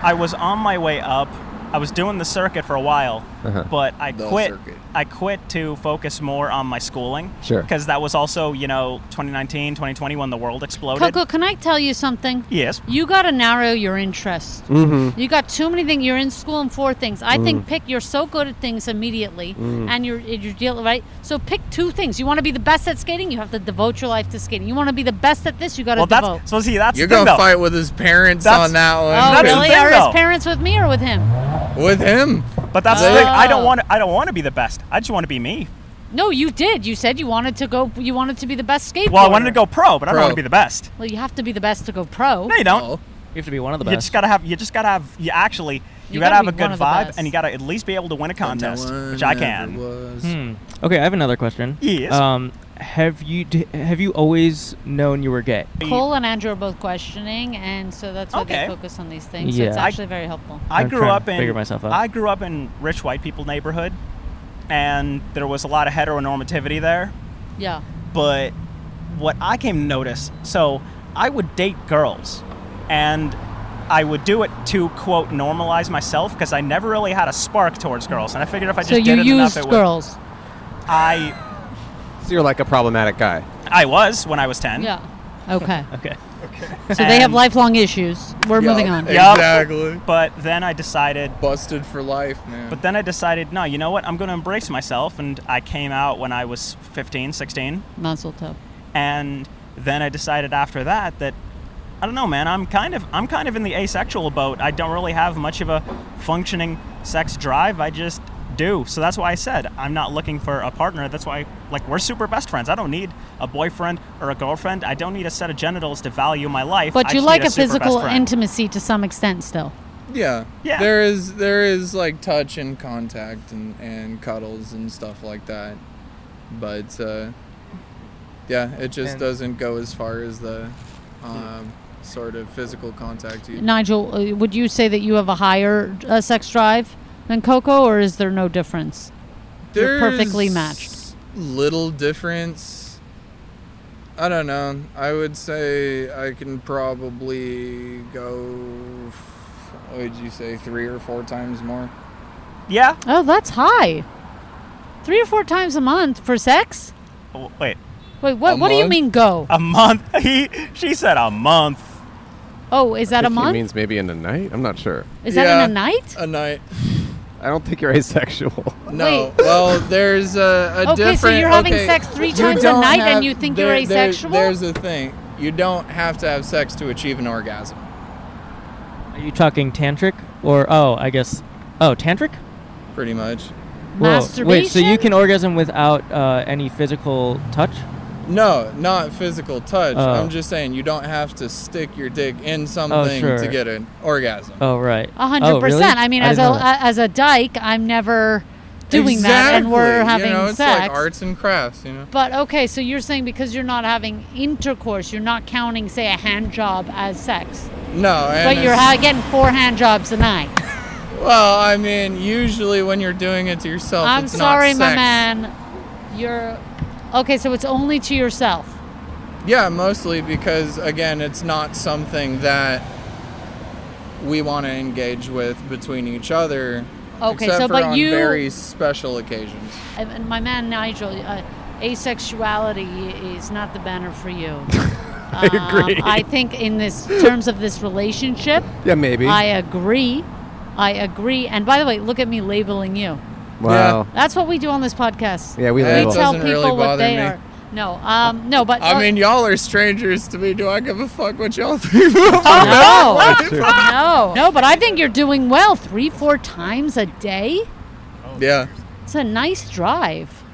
S7: I was on my way up. I was doing the circuit for a while, but I
S8: The
S7: quit.
S8: circuit.
S7: I quit to focus more on my schooling.
S2: Sure.
S7: Because that was also, you know, 2019, 2020 when the world exploded.
S5: Coco, can I tell you something?
S7: Yes.
S5: You got to narrow your interests.
S1: Mm-hmm.
S5: You got too many things. You're in school and four things. I
S1: Mm.
S5: think pick. You're so good at things immediately, and you're you're dealing right. So pick two things. You want to be the best at skating. You have to devote your life to skating. You want to be the best at this. You got to
S7: Well,
S5: devote.
S7: that's so. See, that's
S8: you're
S7: the thing,
S8: gonna
S7: though.
S8: fight with his parents
S7: That's-
S8: on that
S5: oh,
S8: one
S7: that's the
S5: really?
S7: thing,
S5: Are
S7: though.
S5: his parents with me or with him?
S8: with him
S7: But that's the
S8: They-
S7: thing. I don't
S5: Oh.
S7: want. I don't want to be the best. I just want to be me.
S5: No, you did. You said you wanted to go. You wanted to be the best skateboarder.
S7: Well, I wanted to go pro, but I don't
S8: Pro.
S7: want to be the best.
S5: Well, you have to be the best to go pro.
S7: No, you don't.
S8: oh.
S1: You have to be one of the
S7: You
S1: best.
S7: just gotta have. You just gotta have. You actually.
S5: You
S7: You, gotta,
S5: gotta
S7: have
S5: be
S7: a good
S5: one of the
S7: vibe,
S5: best.
S7: and you gotta at least be able to win a contest,
S8: No
S7: which
S8: one
S7: I
S8: ever
S7: can.
S8: was.
S1: Hmm. Okay, I have another question.
S7: Yes.
S1: Um, have you d- have you always known you were gay?
S5: Cole and Andrew are both questioning, and so that's why
S7: Okay.
S5: they focus on these things. So it's
S1: Yeah. I-
S5: actually very helpful.
S7: I
S1: I'm
S7: grew
S1: trying to
S7: up in.
S1: figure myself out.
S7: I grew up in rich white people neighborhood, and there was a lot of heteronormativity there.
S5: Yeah.
S7: But what I came to notice, so I would date girls, and I would do it to quote normalize myself because I never really had a spark towards girls, and I figured if I just
S5: So you
S7: did it enough,
S5: used
S7: it would.
S5: girls.
S7: I
S2: So you're like a problematic guy.
S7: I was when I was 10.
S5: Yeah. Okay.
S1: Okay.
S5: So they have
S7: And-
S5: lifelong issues. We're moving on.
S7: Yeah. Yup.
S8: exactly
S7: But then I decided,
S8: busted for life man
S7: but then I decided, no, you know what? I'm going to embrace myself. And I came out when I was 15, 16.
S5: Mazel tov.
S7: And then I decided after that that, I don't know, man, I'm kind of, I'm kind of in the asexual boat. I don't really have much of a functioning sex drive. I just do. So that's why I said I'm not looking for a partner. That's why, like, we're super best friends. I don't need a boyfriend or a girlfriend. I don't need a set of genitals to value my life. I
S5: But you
S7: just
S5: like
S7: need
S5: a
S7: super best
S5: physical
S7: friend.
S5: intimacy to some extent still.
S8: Yeah.
S7: Yeah.
S8: There is there is like touch and contact and, and cuddles and stuff like that. But uh, yeah, it just
S1: And-
S8: doesn't go as far as the um, sort of physical contact you
S5: Nigel, uh, would you say that you have a higher uh, sex drive than Coco, or is there no difference? You're perfectly matched.
S8: Little difference. I don't know. I would say I can probably go f- what would you say 3 or 4 times more.
S7: Yeah.
S5: Oh, that's high. Three or four times a month for sex?
S7: W- Oh, Wait.
S5: Wait, what?
S8: A
S5: what do you
S8: month?
S5: mean go?
S7: A month. He she said a month.
S5: Oh, is that
S2: I
S5: a
S2: think He
S5: month?
S2: means maybe in the night. I'm not sure.
S5: Is that
S8: Yeah.
S5: in a night?
S8: A night.
S2: I don't think you're asexual.
S8: No.
S5: Wait.
S8: Well, there's a, a
S5: Okay, so
S8: different.
S5: you're having
S8: okay,
S5: sex three
S8: you
S5: times a
S8: don't
S5: night and you think you're asexual?
S8: There's the thing. You don't have to have sex to achieve an orgasm.
S1: Are you talking tantric or oh, I guess oh, tantric?
S8: Pretty much.
S5: Masturbation.
S1: Wait, so you can orgasm without uh, any physical touch?
S8: No, not physical touch.
S1: Oh.
S8: I'm just saying you don't have to stick your dick in something
S1: sure.
S8: to get an orgasm.
S1: Oh, right.
S5: A
S1: Oh,
S5: hundred
S1: really?
S5: percent. I mean, as a
S1: didn't know that.
S5: as a dyke, I'm never doing that, and
S8: Exactly,
S5: we're having
S8: you know, it's
S5: sex.
S8: like arts and crafts, you know.
S5: But okay, so you're saying because you're not having intercourse, you're not counting, say, a hand job as sex,
S8: No, and
S5: but you're
S8: it's-
S5: ha- getting four hand jobs a night.
S8: Well, I mean, usually when you're doing it to yourself,
S5: I'm
S8: it's
S5: sorry,
S8: not
S5: my
S8: sex.
S5: man. You're okay. So it's only to yourself.
S8: Yeah, mostly because again, it's not something that we want to engage with between each other.
S5: Okay,
S8: except
S5: so
S8: for
S5: but
S8: on
S5: you-
S8: very special occasions.
S5: And- And my man Nigel, uh, asexuality is not the banner for you. I
S2: agree.
S5: I think in this terms of this relationship,
S2: yeah, maybe.
S5: I agree. I agree. And by the way, look at me labeling you.
S2: wow.
S5: That's what we do on this podcast.
S2: Yeah, we
S8: Hey,
S5: we
S8: it
S2: label.
S5: tell
S8: doesn't
S5: people
S8: really
S5: what
S8: bother
S5: they
S8: me.
S5: are. No, um, no, but
S8: I mean, y'all are strangers to me. Do I give a fuck what y'all think? about
S5: no,
S8: me?
S5: no, no. But I think you're doing well. Three, four times a day.
S8: yeah.
S5: It's a nice drive.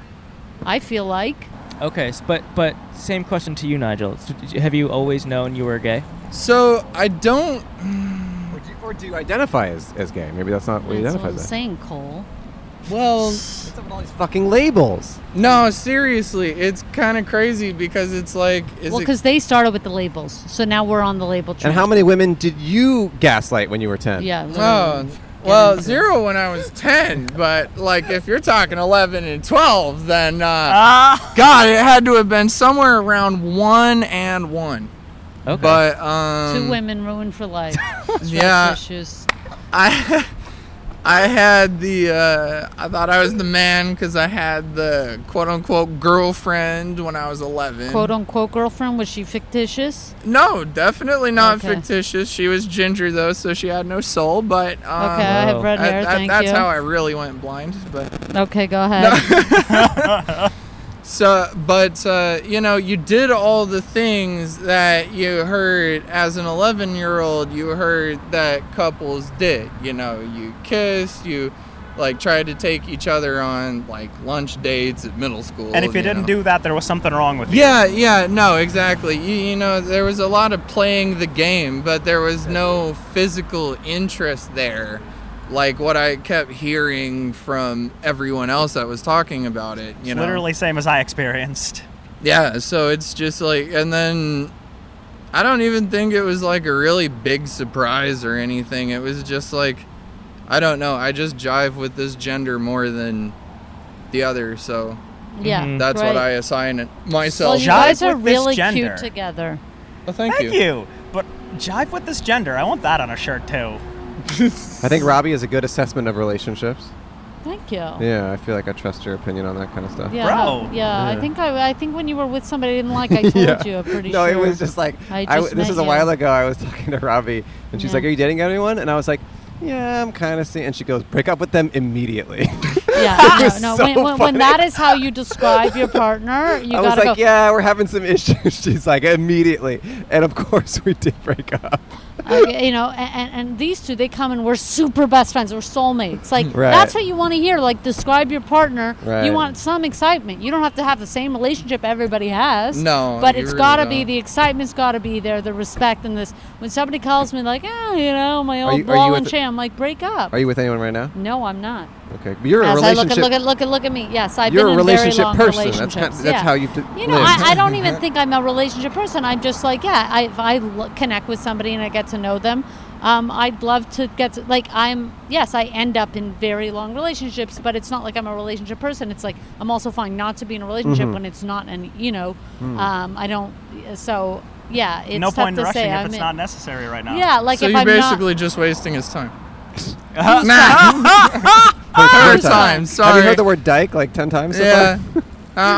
S5: I feel like.
S1: Okay, s- but but same question to you, Nigel. So did you- have you always known you were gay?
S8: So I don't.
S9: Or do, or do
S2: You identify as, as gay. Maybe that's not what you
S5: That's what
S2: identify
S5: I'm
S2: as.
S5: saying, Cole.
S8: Well,
S2: Fucking labels.
S8: no, seriously, it's kind of crazy because it's like, is
S5: Well,
S8: it
S5: because they started with the labels, so now we're on the label. Train.
S2: And how many women did you gaslight when you were 10?
S5: Yeah.
S8: Oh,
S5: literally.
S8: well, zero when I was 10, but like if you're talking 11 and 12, then uh,
S7: Ah.
S8: God, it had to have been somewhere around one and one.
S1: Okay.
S8: But, um,
S5: Two women ruined for life.
S8: yeah,
S5: Issues.
S8: I, I had the, uh, I thought I was the man because I had the quote unquote girlfriend when I was 11.
S5: Quote unquote girlfriend was she fictitious?
S8: no, definitely not
S5: Okay.
S8: fictitious. She was ginger though, so she had no soul, but, um,
S5: Okay, I have
S1: Oh.
S5: red
S8: I-
S5: hair.
S8: that-
S5: thank
S8: that's
S5: you.
S8: how I really went blind, but
S5: okay, go ahead.
S8: So, but uh, you know, you did all the things that you heard as an 11 year old, you heard that couples did. You know, you kissed, you like tried to take each other on like lunch dates at middle school.
S7: And if you didn't
S8: know.
S7: do that, there was something wrong with you.
S8: Yeah, yeah, no, exactly. You, you know, there was a lot of playing the game, but there was no physical interest there, like what I kept hearing from everyone else that was talking about it. You know,
S7: Literally same as I experienced.
S8: yeah, so it's just like, and then I don't even think it was like a really big surprise or anything. It was just like, I don't know. I just jive with this gender more than the other, so
S5: yeah,
S7: Mm.
S1: Mhm.
S8: that's
S5: right.
S8: what I assign it
S5: Well,
S8: myself.
S5: you
S7: Jive
S5: guys are
S7: with this
S5: really cute
S7: gender.
S5: together.
S8: Oh, thank,
S7: Thank you. But jive with this gender. I want that on a shirt too.
S2: I think Robbie is a good assessment of relationships.
S5: Thank you.
S2: Yeah, I feel like I trust your opinion on that kind of stuff.
S5: Yeah,
S7: Bro.
S5: yeah, I
S2: Yeah.
S5: think I, I think when you were with somebody I didn't like, I told
S2: Yeah.
S5: you. I'm pretty
S2: no,
S5: sure.
S2: it was just like
S5: I
S2: I
S5: just
S2: w- this
S5: met
S2: is a
S5: you.
S2: while ago. I was talking to Robbie, and she's
S5: Yeah.
S2: like, "Are you dating anyone?" And I was like, "Yeah, I'm kind of seeing." And she goes, "Break up with them immediately."
S5: yeah, no,
S2: was
S5: no.
S2: so
S5: when, when, when
S2: funny.
S5: that is how you describe your partner, you
S2: I was
S5: gotta
S2: like,
S5: go.
S2: "Yeah, we're having some issues." she's like, "Immediately," and of course we did break up.
S5: Okay, you know, a- and, and these two, they come and we're super best friends. We're soulmates. Like
S2: Right.
S5: that's what you want to hear. Like describe your partner.
S2: Right.
S5: You want some excitement. You don't have to have the same relationship everybody has.
S8: No,
S5: but
S8: you
S5: it's
S8: really
S5: gotta be
S8: don't.
S5: the excitement's gotta be there. The respect and this. When somebody calls me like, ah, you know, my old
S2: you- are
S5: ball
S2: you
S5: and
S2: with-
S5: chain, I'm like, break up.
S2: Are you with anyone right now?
S5: no, I'm not.
S2: Okay, but you're a
S5: As I look
S2: relationship.
S5: at look at look at look at me. Yes, I've
S2: you're
S5: been
S2: a
S5: in very
S2: relationship
S5: long
S2: person. That's kind
S5: relationships.
S2: that's
S5: yeah.
S2: how you. D-
S5: You know,
S2: live.
S5: I, I don't even think I'm a relationship person. I'm just like, yeah, I, if I lo- connect with somebody and I get to know them, um, I'd love to get to, like, I'm, yes, I end up in very long relationships, but it's not like I'm a relationship person. It's like, I'm also fine not to be in a relationship
S2: Mm-hmm.
S5: when it's not, and, you know,
S2: Hmm.
S5: um, I don't, so, yeah, it's
S7: no
S5: tough
S7: point
S5: to
S7: in rushing
S5: say.
S7: if
S5: I'm
S7: it's
S5: in-
S7: not necessary right now.
S5: yeah, like
S8: so
S5: if
S8: you're
S5: I'm
S8: basically just wasting his time.
S5: not,
S8: Nah, her
S5: Whose time?
S8: time. Sorry.
S2: Have you heard the word dyke like ten times? so
S8: Yeah. Uh,
S2: far?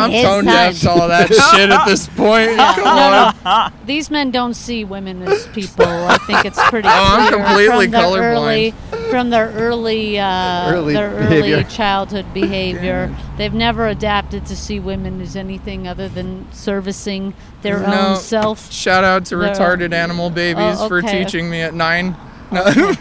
S8: I'm
S5: His
S8: tone deaf to
S5: time.
S8: all that shit at this point. Come on.
S5: no, no. These men don't see women as people. I think it's pretty.
S8: Oh, I'm
S5: clear
S8: completely
S5: from the
S8: colorblind.
S5: Early, from their early, uh,
S2: Early
S5: their
S2: behavior.
S5: early childhood behavior. They've never adapted to see women as anything other than servicing their
S8: No.
S5: own self.
S8: Shout out to
S5: They're-
S8: retarded animal babies
S5: Oh,
S8: for
S5: okay.
S8: teaching me at nine. No.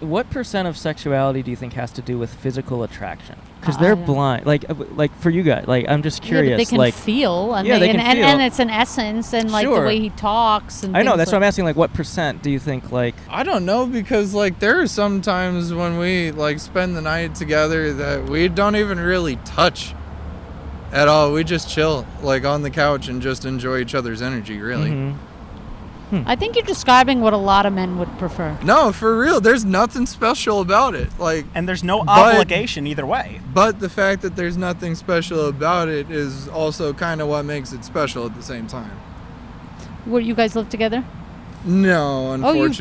S1: What percent of sexuality do you think has to do with physical attraction? Because
S5: I
S1: they're
S5: don't-
S1: blind. Like, uh, like for you guys, like I'm just curious.
S5: Yeah, but they can
S1: like,
S5: feel, and,
S1: Yeah,
S5: they,
S1: they
S5: and,
S1: can
S5: and,
S1: feel.
S5: and it's an essence, and like
S1: Sure.
S5: the way he talks. And
S1: I know
S5: things
S1: that's
S5: like
S1: what I'm asking. Like, what percent do you think? Like,
S8: I don't know because like there are some times when we like spend the night together that we don't even really touch at all. We just chill like on the couch and just enjoy each other's energy, really.
S1: mhm.
S5: Mm-hmm. I think you're describing what a lot of men would prefer.
S8: No, for real, there's nothing special about it. Like
S7: And there's no
S8: But-
S7: obligation either way.
S8: but the fact that there's nothing special about it is also kind of what makes it special at the same time.
S5: Where you guys live together?
S8: No,
S5: Oh, you
S8: unfortunately.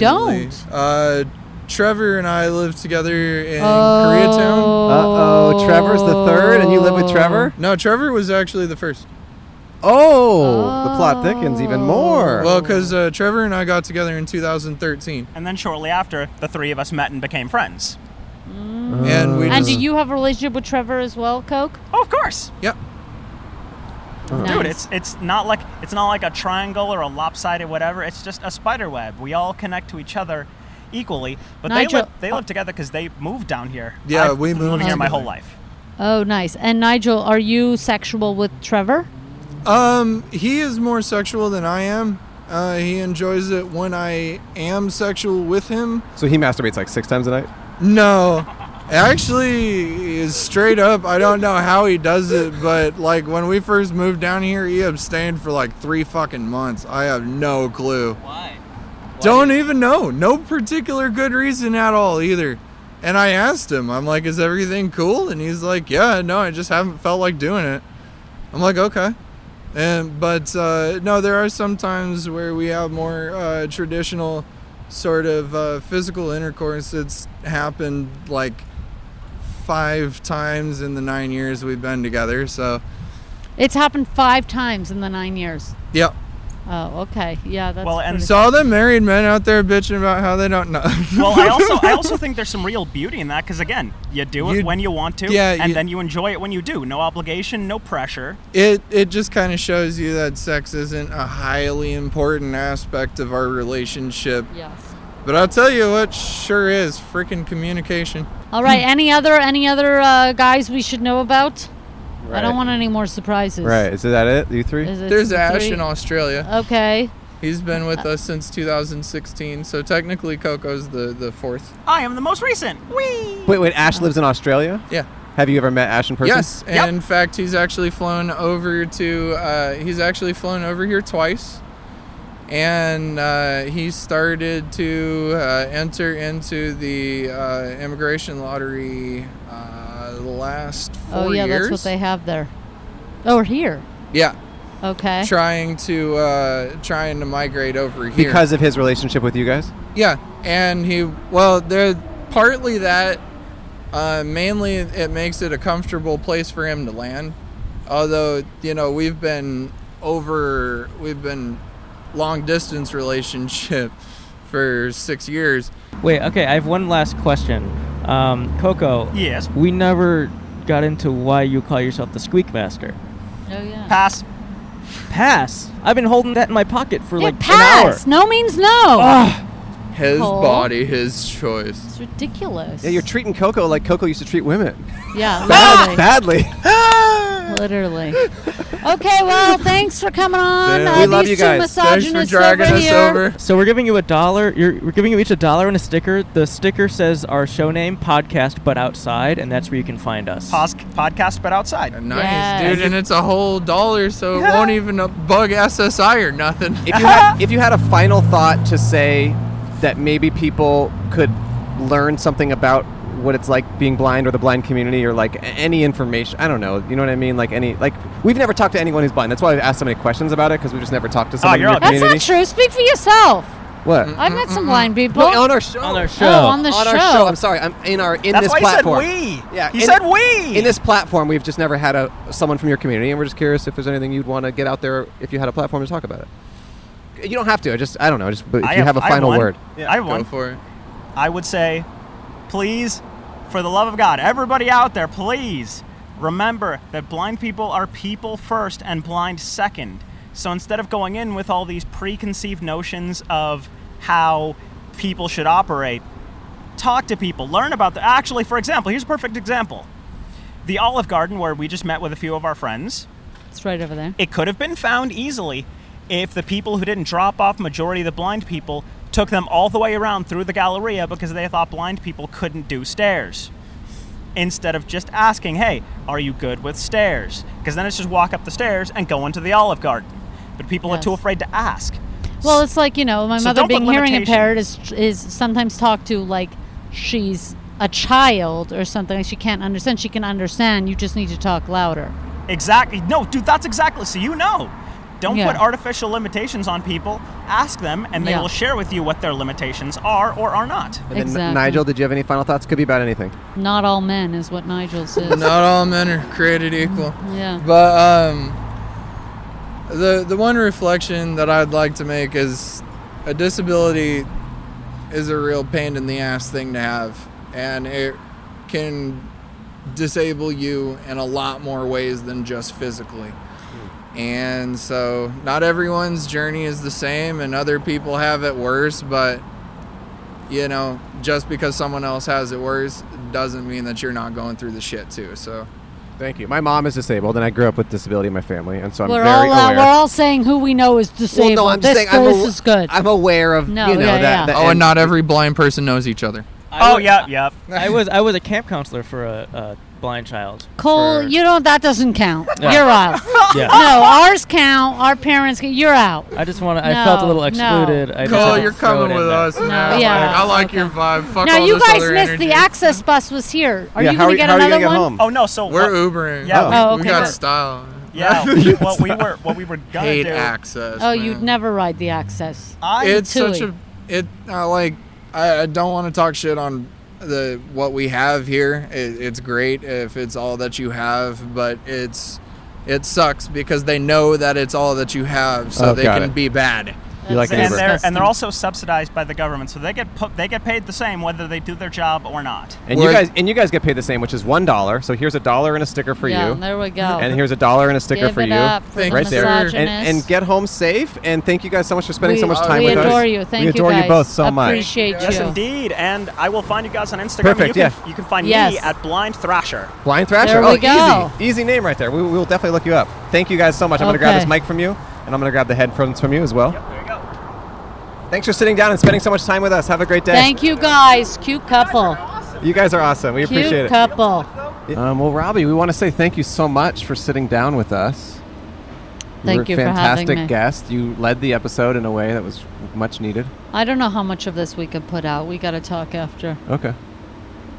S5: don't?
S8: Uh Trevor and I live together in Koreatown.
S5: Oh.
S2: Uh oh, Trevor's the third, and you live with Trevor?
S8: No, Trevor was actually the first.
S2: Oh, the plot thickens
S5: Oh.
S2: even more.
S8: Well, because uh, Trevor and I got together in 2013,
S7: And then shortly after, the three of us met and became friends.
S8: and we
S5: And
S8: just
S5: do you have a relationship with Trevor as well, Coke?
S7: Oh, of course.
S8: yeah.
S5: Nice.
S7: Dude, it's it's not like it's not like a triangle or a lopsided whatever. It's just a spider web. We all connect to each other equally. But
S5: Nigel- uh
S7: they live they live together because they moved down here.
S8: Yeah,
S7: I've
S8: we moved
S7: lived here my
S8: together.
S7: whole life.
S5: Oh, nice. And Nigel, are you sexual with Trevor?
S8: Um, he is more sexual than I am. Uh, he enjoys it when I am sexual with him.
S2: so he masturbates like six times a night?
S8: No, actually, is straight up. I don't know how he does it, but like when we first moved down here, he abstained for like three fucking months. I have no clue.
S1: Why?
S8: Don't even know. No particular good reason at all either. And I asked him, I'm like, is everything cool? And he's like, yeah, no, I just haven't felt like doing it. I'm like, okay. And but uh, no, there are some times where we have more uh, traditional sort of uh, physical intercourse that's happened like five times in the nine years we've been together. So
S5: It's happened five times in the nine years.
S8: yeah.
S5: Oh, okay. Yeah, that's.
S7: Well, and
S5: pretty-
S8: So all the married men out there bitching about how they don't know.
S7: well, I also I also think there's some real beauty in that because again, you do it
S8: You-
S7: when you want to,
S8: yeah,
S7: and
S8: you-
S7: then you enjoy it when you do. No obligation, no pressure.
S8: it it just kind of shows you that sex isn't a highly important aspect of our relationship.
S5: Yes.
S8: But I'll tell you what sure is freaking communication.
S5: All right. Any other any other uh, guys we should know about? I don't want any more surprises.
S2: Right, is that it? You three?
S5: Is it
S8: There's
S5: three? Uh,
S8: Ash in Australia.
S5: Okay.
S8: He's been with us since 2016, so technically Coco's the the fourth.
S7: I am the most recent. Whee!
S2: Wait, wait. Ash lives in Australia.
S8: Yeah.
S2: Have you ever met Ash in person?
S8: Yes, and in fact, he's actually flown over to. Uh, he's actually flown over here twice, and uh, he started to uh, enter into the uh, immigration lottery uh, the last four
S5: Oh yeah,
S8: years.
S5: that's what they have there. Oh, we're here.
S8: Yeah,
S5: Okay.
S8: trying to uh, trying to migrate over here
S2: Because of his relationship with you guys.
S8: Yeah, and he well, there partly that, uh, mainly it makes it a comfortable place for him to land. Although you know we've been over, we've been long distance relationship for six years.
S1: Wait. Okay. I have one last question. Um, Coco.
S7: Yes.
S1: We never got into why you call yourself the Squeak Master.
S5: Oh yeah.
S7: Pass.
S1: Pass. I've been holding that in my pocket for
S5: Yeah,
S1: like
S5: pass.
S1: an hour.
S5: No means no.
S1: Ah,
S8: His
S5: Cool.
S8: body, his choice.
S5: It's ridiculous.
S2: Yeah, you're treating Coco like Coco used to treat women.
S5: Yeah,
S2: Bad-
S5: literally.
S2: badly.
S5: literally. Okay, well, thanks for coming on.
S8: Damn.
S5: Uh,
S8: We
S5: these
S2: love you
S5: two
S2: guys. Thanks
S8: Thanks
S5: misogynists
S8: for dragging
S5: over
S8: us
S5: here.
S8: over.
S1: so we're giving you a dollar. You're we're giving you each a dollar and a sticker. The sticker says our show name, podcast, but outside, and that's where you can find us.
S7: Pause. Podcast, but outside.
S8: Nice,
S5: Yes.
S8: dude, and it's a whole dollar, so it won't even uh, bug SSI or nothing.
S2: if you had if you had a final thought to say that maybe people could learn something about what it's like being blind or the blind community or like a- any information i don't know you know what i mean like any like we've never talked to anyone who's blind that's why i've asked so many questions about it because we just never talked to someone
S7: Oh, you're
S2: in your
S7: all good.
S5: That's
S2: community
S5: not true. Speak for yourself.
S2: what
S5: I've met some blind people.
S2: no, on our show
S1: Mm-hmm. on our show.
S5: Oh, on the
S2: On
S5: show.
S2: our show i'm sorry i'm in our in
S7: That's
S2: this
S7: why
S2: platform
S7: he said we.
S2: Yeah,
S7: He
S2: in-
S7: said we.
S2: in this platform we've just never had a someone from your community and we're just curious if there's anything you'd want to get out there if you had a platform to talk about it you don't have to i just i don't know just but if
S7: I
S2: you have, a
S7: I
S2: final
S7: one.
S2: word
S7: I have
S8: Go
S7: one.
S8: for it.
S7: I would say please, for the love of God, everybody out there, please remember that blind people are people first and blind second. So instead of going in with all these preconceived notions of how people should operate, talk to people, learn about the. Actually, for example, here's a perfect example the Olive Garden, where we just met with a few of our friends
S5: It's right over there.
S7: it could have been found easily if the people who didn't drop off majority of the blind people took them all the way around through the galleria because they thought blind people couldn't do stairs instead of just asking hey are you good with stairs because then it's just walk up the stairs and go into the olive garden but people are
S5: Yes.
S7: too afraid to ask
S5: Well, it's like you know, my
S7: So
S5: mother
S7: don't put
S5: being hearing
S7: limitation.
S5: impaired is is sometimes talked to like she's a child or something. She can't understand. She can understand. You just need to talk louder.
S7: Exactly. No, dude, that's exactly. So you know. Don't
S5: Yeah.
S7: put artificial limitations on people. Ask them, and they
S5: Yeah.
S7: will share with you what their limitations are or are not.
S2: And then,
S5: Exactly.
S2: Nigel, did you have any final thoughts? Could be about anything.
S5: Not all men is what Nigel says.
S8: Not all men are created equal.
S5: Yeah.
S8: But um, the the one reflection that I'd like to make is a disability is a real pain in the ass thing to have, and it can disable you in a lot more ways than just physically. And so, not everyone's journey is the same, and other people have it worse. But you know, just because someone else has it worse doesn't mean that you're not going through the shit too. So.
S2: Thank you. My mom is disabled, and I grew up with disability in my family, and so I'm
S5: We're
S2: very
S5: all uh,
S2: aware.
S5: we're all saying who we know is disabled.
S2: Well, no, I'm
S5: this
S2: just saying
S5: this
S2: I'm, aw-
S5: is good.
S2: I'm aware of
S5: No,
S2: you know
S5: yeah,
S2: that.
S5: yeah.
S2: that-
S8: Oh, and not every blind person knows each other.
S7: oh, yeah, yeah.
S10: I was I was a camp counselor for a, a blind child.
S5: Cole,
S10: for-
S5: you don't. That doesn't count.
S10: Yeah.
S5: You're out.
S10: yeah.
S5: no, ours count. Our parents. Count. You're out.
S10: I just want to. I felt a
S5: No,
S10: little
S5: no.
S10: excluded. I just had to throw it in there.
S5: No,
S8: Like,
S5: yeah,
S8: I like
S5: okay.
S8: your vibe. Fuck
S5: Now
S8: all
S5: you
S8: this
S5: guys
S8: other
S5: missed
S8: energy.
S5: the access bus was here. Are
S2: yeah,
S5: you
S2: how
S5: gonna
S2: are,
S5: get
S2: how are you
S5: another
S2: gonna get
S5: one?
S2: home?
S7: Oh no. So
S8: We're
S7: what-
S8: Ubering.
S7: Yeah,
S8: we,
S5: Oh,
S8: we
S5: okay,
S8: got
S5: but-
S8: style.
S7: Yeah. we- what we were what we were gonna
S8: Hate
S7: do.
S8: access.
S5: Oh,
S8: man.
S5: you'd never ride the access.
S7: I
S8: It's
S5: Tui.
S8: such a. It I like. I, I don't want to talk shit on the what we have here. It, it's great if it's all that you have, but it's it sucks because they know that it's all that you have, so
S2: Oh,
S8: they
S2: got
S8: can
S2: it.
S8: be bad.
S2: Oh, You like
S7: and
S2: neighbor.
S7: they're and
S5: Disgusting.
S7: they're also subsidized by the government, so they get pu- they get paid the same whether they do their job or not.
S2: And you
S8: We're-
S2: guys and you guys get paid the same, which is one dollar. So here's a dollar and a sticker for
S5: yeah,
S2: you,
S5: there we go.
S2: and here's a dollar and a sticker
S5: Give
S2: for
S5: it
S2: you,
S5: up for
S8: Thank
S5: the
S2: right
S8: you,
S2: there.
S8: sir.
S5: misogynist.
S2: And, and get home safe. And thank you guys so much for spending so
S5: We-
S2: much time
S5: we
S2: with us.
S5: adore you. Thank
S2: we
S5: you
S2: adore
S5: guys.
S2: you both so much.
S5: Appreciate you.
S7: Yes, indeed. And I will find you guys on Instagram.
S2: Perfect,
S7: you can,
S2: yeah.
S7: You can find
S5: Yes.
S7: me at Blind Thrasher.
S2: Blind Thrasher.
S5: There we
S2: oh,
S5: go.
S2: easy, easy name right there. We, we will definitely look you up. Thank you guys so much. I'm gonna grab
S5: Okay.
S2: this mic from you, and I'm gonna grab the headphones from you as well.
S7: There you go.
S2: Thanks for sitting down and spending so much time with us. Have a great day.
S5: Thank you guys. Cute couple.
S2: You guys are awesome. We
S5: Cute
S2: appreciate it.
S5: couple.
S2: Um, well, Robbie, we want to say thank you so much for sitting down with us.
S5: Thank
S2: were
S5: you
S2: a
S5: for having
S2: fantastic
S5: me.
S2: guest. You led the episode in a way that was much needed.
S5: I don't know how much of this we could put out. We got to talk after.
S2: Okay.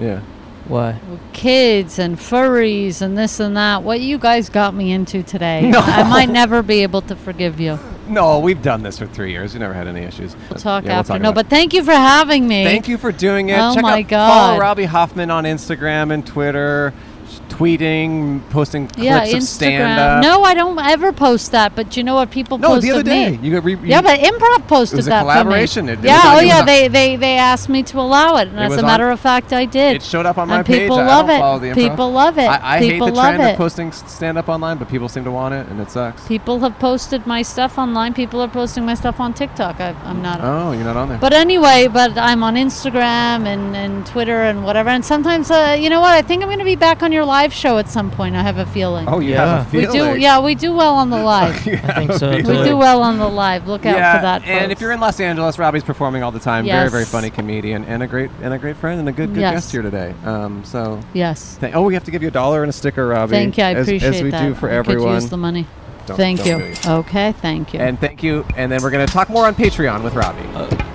S2: Yeah.
S10: Why?
S5: Kids and furries and this and that. What you guys got me into today. I might never be able to forgive you.
S2: No, we've done this for three years. We never had any issues.
S5: We'll talk
S2: Yeah, we'll
S5: after.
S2: talk
S5: no,
S2: about
S5: but thank you for having me.
S2: it. thank you for doing it.
S5: Oh
S2: Check
S5: my
S2: out, Follow
S5: God.
S2: Robbie Hoffman on Instagram and Twitter, sh- tweeting, posting clips
S5: Yeah,
S2: of stand
S5: Instagram.
S2: up.
S5: No, I don't ever post that. But you know what? People
S2: No,
S5: posted
S2: the other day.
S5: me.
S2: You got re- you-
S5: Yeah, but improv posted
S2: was a
S5: that
S2: collaboration.
S5: for
S2: It-
S5: me.
S2: it was
S5: yeah,
S2: on-
S5: oh
S2: it was
S5: yeah,
S2: on-
S5: they, they they asked me to allow it, and
S2: It
S5: as
S2: was
S5: a matter
S2: on-
S5: of fact, I did.
S2: it showed up on my
S5: and
S2: page.
S5: people
S2: I
S5: love
S2: don't
S5: it.
S2: follow the improv.
S5: People love it.
S2: I, I hate
S5: People
S2: the
S5: love
S2: trend of
S5: it.
S2: posting stand up online, but people seem to want it, and it sucks.
S5: people have posted my stuff online. People are posting my stuff on TikTok. I, I'm not.
S2: Oh, you're not on there.
S5: But anyway, but I'm on Instagram and, and Twitter and whatever. And sometimes, uh, you know what? I think I'm going to be back on your live show at some point. I have a feeling.
S2: oh, you have a
S5: we
S2: feeling.
S5: do. Yeah, we do well on the live.
S2: You have
S10: think
S2: a
S10: so,
S2: feeling.
S5: we
S10: too.
S5: do well on the live. Look out for that.
S2: and if
S5: folks.
S2: you're in Los Angeles, Robbie's performing all the time. Very,
S5: Yes.
S2: very funny comedian and a great and a great friend and a good, good
S5: Yes.
S2: guest here today. Um, so,
S5: yes,
S2: th- oh, we have to give you a dollar and a sticker, Robbie.
S5: thank you. I
S2: as,
S5: appreciate
S2: as we
S5: that.
S2: do for
S5: I
S2: everyone.
S5: Could use the money.
S2: Don't-
S5: thank
S2: don't
S5: you. Oh,
S2: really.
S5: Okay, thank you.
S2: And thank you. And then we're going to talk more on Patreon with Robbie.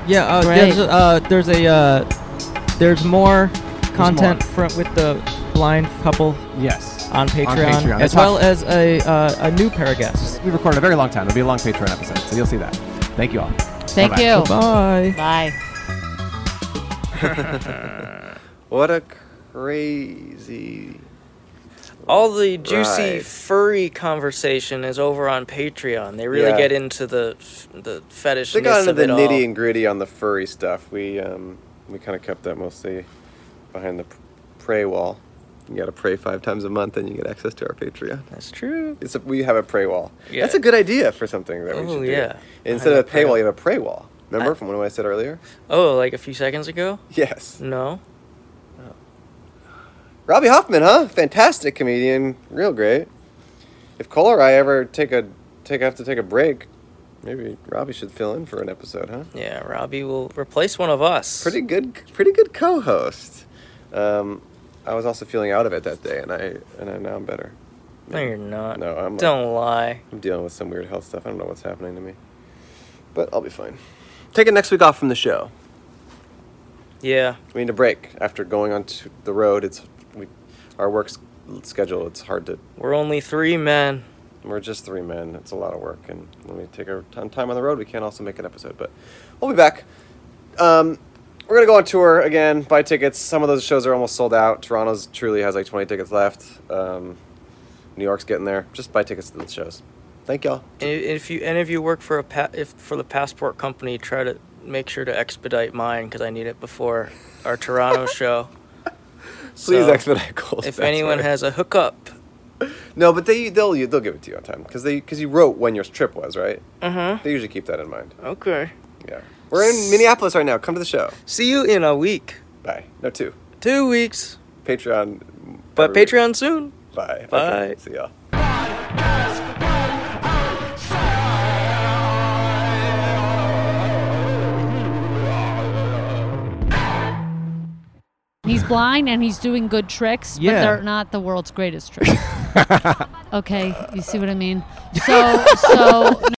S10: Yeah, uh,
S5: Great.
S10: there's, uh, there's a uh, there's more content from with the blind couple
S2: yes.
S10: on Patreon,
S2: Patreon.
S10: as
S2: That's
S10: well
S2: awesome.
S10: as a uh, a new pair of guests.
S2: We recorded a very long time. It'll be a long Patreon episode, so you'll see that. Thank you all.
S5: thank
S2: Bye-bye.
S5: you.
S10: Bye.
S5: Bye.
S9: What a crazy.
S10: All the juicy
S9: Right.
S10: furry conversation is over on Patreon. They really
S9: Yeah.
S10: get into the f- the fetish.
S9: They got into
S10: of
S9: the
S10: it all.
S9: nitty and gritty on the furry stuff. We um, we kind of kept that mostly
S2: behind the pr- pray wall. You got to pray five times a month, and you get access to our Patreon.
S1: That's true.
S2: It's a, we have a pray wall.
S1: Yeah.
S2: That's a good idea for something that we
S1: Oh,
S2: should do.
S1: yeah.
S2: Instead
S1: I
S2: of
S1: have a
S2: a
S1: pray-
S2: paywall, you have a pray wall. Remember
S1: I-
S2: from what I said earlier?
S1: Oh, like a few seconds ago?
S2: Yes.
S1: No.
S2: Robbie Hoffman, huh? Fantastic comedian, real great. If Cole or I ever take a take have to take a break, maybe Robbie should fill in for an episode, huh?
S1: Yeah, Robbie will replace one of us.
S2: Pretty good, pretty good co-host. Um, I was also feeling out of it that day, and I and I, now I'm better.
S1: No, you're not.
S2: No, I'm not.
S1: Don't lie.
S2: I'm dealing with some weird health stuff. I don't know what's happening to me, but I'll be fine. Taking next week off from the show.
S1: Yeah.
S2: We need a break after going on to the road. It's we, our work s- schedule. It's hard to
S1: We're only three men.
S2: We're just three men. It's a lot of work, and when we take our ton- time on the road, we can also make an episode. But we'll be back. Um, we're gonna go on tour again. Buy tickets. Some of those shows are almost sold out. Toronto's truly has like 20 tickets left. Um, New York's getting there. Just buy tickets to the shows. Thank y'all.
S1: And if you and if you work for a pa- if for the passport company, try to make sure to expedite mine because I need it before our Toronto show.
S2: Please
S1: So,
S2: expedite calls.
S1: If anyone has a hookup,
S2: no, but they they'll they'll give it to you on time because they because you wrote when your trip was right.
S1: uh-huh.
S2: They usually keep that in mind.
S1: Okay.
S2: Yeah, we're in Minneapolis right now. Come to the show.
S1: See you in a week,
S2: Bye. No two.
S1: two weeks,
S2: Patreon.
S1: but
S2: every week.
S1: Patreon soon.
S2: Bye.
S1: Bye.
S2: Okay, see y'all.
S5: He's blind and he's doing good tricks, but
S11: Yeah.
S5: they're not the world's greatest tricks. okay, you see what I mean? So, so